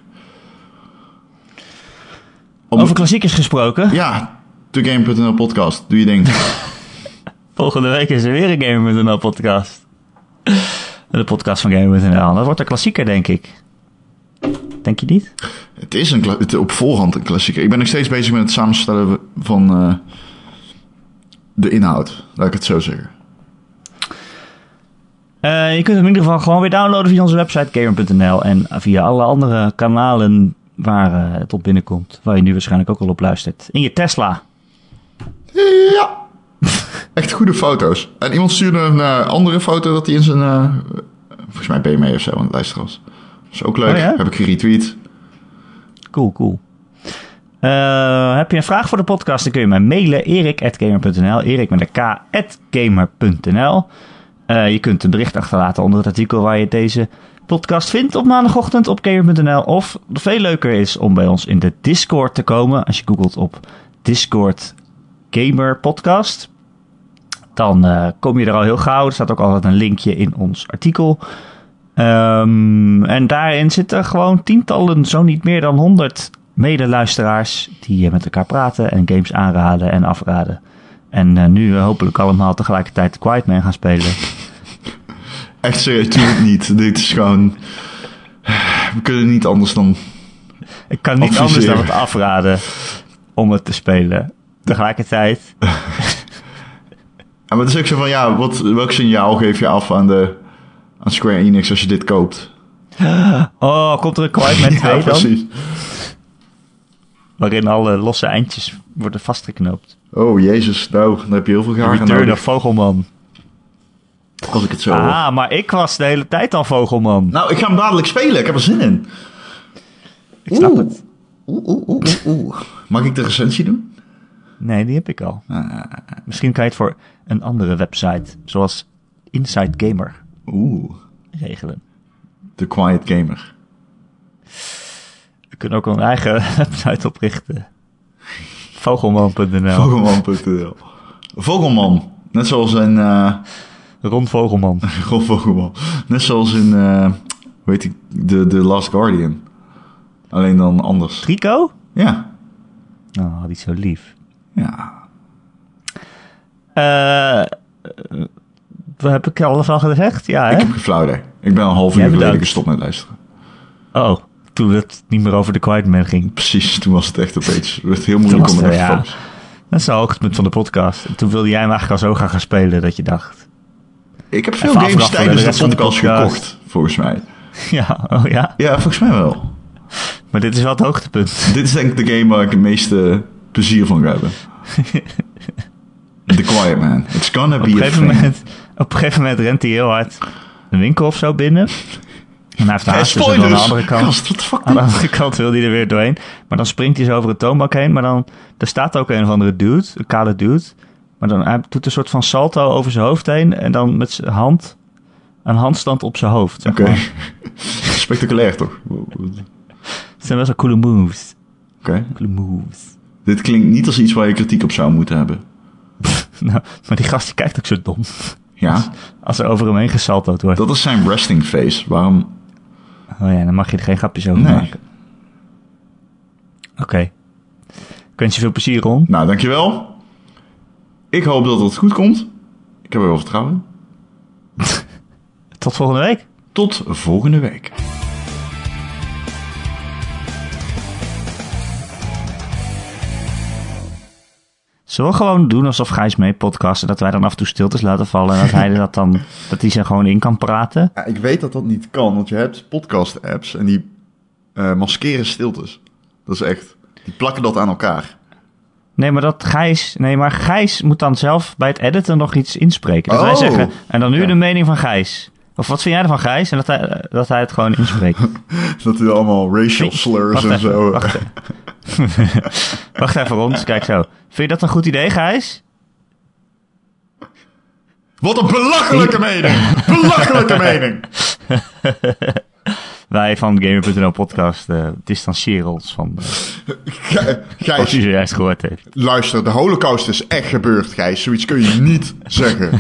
Speaker 2: Op-
Speaker 1: Over klassiekers gesproken.
Speaker 2: Ja, de Game.nl podcast, doe je denkt.
Speaker 1: Volgende week is er weer een Gamer.nl podcast. De podcast van Gamer.nl. Dat wordt een klassieker, denk ik. Denk je niet?
Speaker 2: Het is een kla- het, op voorhand een klassieker. Ik ben nog steeds bezig met het samenstellen van eh, de inhoud, laat ik het zo zeggen.
Speaker 1: Eh, je kunt hem in ieder geval gewoon weer downloaden via onze website Gamer.nl. En via alle andere kanalen waar eh, het op binnenkomt. Waar je nu waarschijnlijk ook al op luistert. In je Tesla.
Speaker 2: Ja. Echt goede foto's. En iemand stuurde een eh, andere foto dat hij in zijn... eh, volgens mij BMW of zo aan het luisteren was. Dat is ook leuk.
Speaker 1: Oh ja?
Speaker 2: Heb ik geretweet.
Speaker 1: Cool, cool. Eh, heb je een vraag voor de podcast, dan kun je mij mailen. erik.gamer.nl erik met een k at gamer.nl Eh, Je kunt een bericht achterlaten onder het artikel waar je deze podcast vindt op maandagochtend op gamer.nl. Of veel leuker is om bij ons in de Discord te komen. Als je googelt op Discord Gamer Podcast, dan eh, kom je er al heel gauw. Er staat ook altijd een linkje in ons artikel. Ehm, en daarin zitten gewoon tientallen, zo niet meer dan honderd medeluisteraars die eh, met elkaar praten en games aanraden en afraden. En eh, nu eh, hopelijk allemaal tegelijkertijd Quiet Man gaan spelen.
Speaker 2: Echt serieus, doe het niet. Dit is gewoon... We kunnen niet anders dan...
Speaker 1: Ik kan niet
Speaker 2: Adviseer.
Speaker 1: anders dan het afraden om het te spelen. Tegelijkertijd.
Speaker 2: En maar het is ook zo van, ja, wat, welk signaal geef je af aan, de, aan Square Enix als je dit koopt?
Speaker 1: Oh, komt er een Quiet Man 2
Speaker 2: ja,
Speaker 1: dan?
Speaker 2: precies.
Speaker 1: Waarin alle losse eindjes worden vastgeknoopt.
Speaker 2: Oh, jezus. Nou, dan heb je heel veel garen
Speaker 1: Return of
Speaker 2: nodig.
Speaker 1: Vogelman.
Speaker 2: Als ik het zo hoor.
Speaker 1: Ah, maar ik was de hele tijd al Vogelman.
Speaker 2: Nou, ik ga hem dadelijk spelen. Ik heb er zin in.
Speaker 1: Ik snap
Speaker 2: Oeh.
Speaker 1: het.
Speaker 2: Oeh, oeh, oeh, oeh. Mag ik de recensie doen?
Speaker 1: Nee, die heb ik al. Misschien kan je het voor een andere website, zoals Inside Gamer,
Speaker 2: Oeh,
Speaker 1: regelen.
Speaker 2: The Quiet Gamer.
Speaker 1: We kunnen ook een eigen website oprichten. Vogelman.nl.
Speaker 2: Vogelman.nl. Vogelman. Net zoals in... eh
Speaker 1: Ron Vogelman.
Speaker 2: Rolf Vogelman. Net zoals in... eh hoe heet die? De, de Last Guardian. Alleen dan anders.
Speaker 1: Trico?
Speaker 2: Ja.
Speaker 1: Oh, die is zo lief. Ja. Eh, we hebben ik alles al gezegd? Ja, hè?
Speaker 2: Ik heb geflauwd. Ik ben al een half uur
Speaker 1: Jij
Speaker 2: geleden
Speaker 1: bedankt.
Speaker 2: gestopt met luisteren.
Speaker 1: Oh, toen het niet meer over de Quiet Man ging.
Speaker 2: Precies, toen was het echt opeens. Het werd heel moeilijk
Speaker 1: Toen
Speaker 2: om
Speaker 1: was
Speaker 2: het echt
Speaker 1: het, eh,
Speaker 2: te
Speaker 1: ja.
Speaker 2: focussen.
Speaker 1: Dat is nou ook het punt van de podcast. En toen wilde jij hem eigenlijk al zo gaan gaan spelen dat je dacht...
Speaker 2: Ik heb veel
Speaker 1: Even
Speaker 2: games
Speaker 1: afwachten
Speaker 2: tijdens
Speaker 1: de
Speaker 2: de
Speaker 1: rest van de
Speaker 2: podcast
Speaker 1: podcast.
Speaker 2: gekocht, volgens mij.
Speaker 1: Ja, oh ja.
Speaker 2: Ja, volgens mij wel.
Speaker 1: Maar dit is wel het hoogtepunt.
Speaker 2: Dit is denk ik de game waar ik het meeste plezier van ga hebben. The Quiet Man. It's gonna
Speaker 1: Op een,
Speaker 2: be a
Speaker 1: gegeven
Speaker 2: thing.
Speaker 1: moment, op een gegeven moment rent hij heel hard een winkel of zo binnen. En hij heeft de
Speaker 2: Hey,
Speaker 1: haast dus aan de
Speaker 2: spoilers!
Speaker 1: andere kant.
Speaker 2: Gast, wat de fuck?
Speaker 1: Aan de andere kant wil hij er weer doorheen. Maar dan springt hij zo over de toonbank heen. Maar dan, er staat ook een of andere dude, een kale dude. Maar dan hij doet een soort van salto over zijn hoofd heen. En dan met zijn hand, een handstand op zijn hoofd. zeg
Speaker 2: Oké.
Speaker 1: maar.
Speaker 2: Spectaculair toch? Oké.
Speaker 1: Het zijn best wel coole moves. Coole moves.
Speaker 2: Dit klinkt niet als iets waar je kritiek op zou moeten hebben.
Speaker 1: Nou, maar die gast die kijkt ook zo dom.
Speaker 2: Ja,
Speaker 1: Als er over hem heen gesalto'd wordt.
Speaker 2: dat is zijn resting face. Waarom?
Speaker 1: Oh ja, dan mag je er geen grapjes over
Speaker 2: Nee.
Speaker 1: maken. Oké. Ik wens je veel plezier, Ron.
Speaker 2: Nou, dankjewel. Ik hoop dat het goed komt. Ik heb er wel vertrouwen in.
Speaker 1: Tot volgende week.
Speaker 2: Tot volgende week.
Speaker 1: Zullen we gewoon doen alsof Gijs mee podcast en dat wij dan af en toe stiltes laten vallen en dat hij dat dan, dat hij ze gewoon in kan praten?
Speaker 2: Ja, ik weet dat dat niet kan, want je hebt podcast-apps en die eh, maskeren stiltes. Dat is echt. Die plakken dat aan elkaar.
Speaker 1: Nee, maar dat Gijs, nee, maar Gijs moet dan zelf bij het editen nog iets inspreken. Dat wij
Speaker 2: Oh.
Speaker 1: zeggen, en dan nu
Speaker 2: Ja.
Speaker 1: de mening van Gijs. Of wat vind jij ervan, Gijs? En dat hij, eh, dat hij het gewoon inspreekt.
Speaker 2: Dat die allemaal racial slurs
Speaker 1: Wacht
Speaker 2: en
Speaker 1: even,
Speaker 2: zo.
Speaker 1: wacht Wacht even, Ron. dus Kijk zo. Vind je dat een goed idee, Gijs?
Speaker 2: Wat een belachelijke mening! Belachelijke mening!
Speaker 1: Wij van Gamer.nl podcast eh, distancieren ons van eh,
Speaker 2: Gij-
Speaker 1: wat u
Speaker 2: Gijs,
Speaker 1: zojuist gehoord heeft.
Speaker 2: luister, de holocaust is echt gebeurd, Gijs. Zoiets kun je niet zeggen.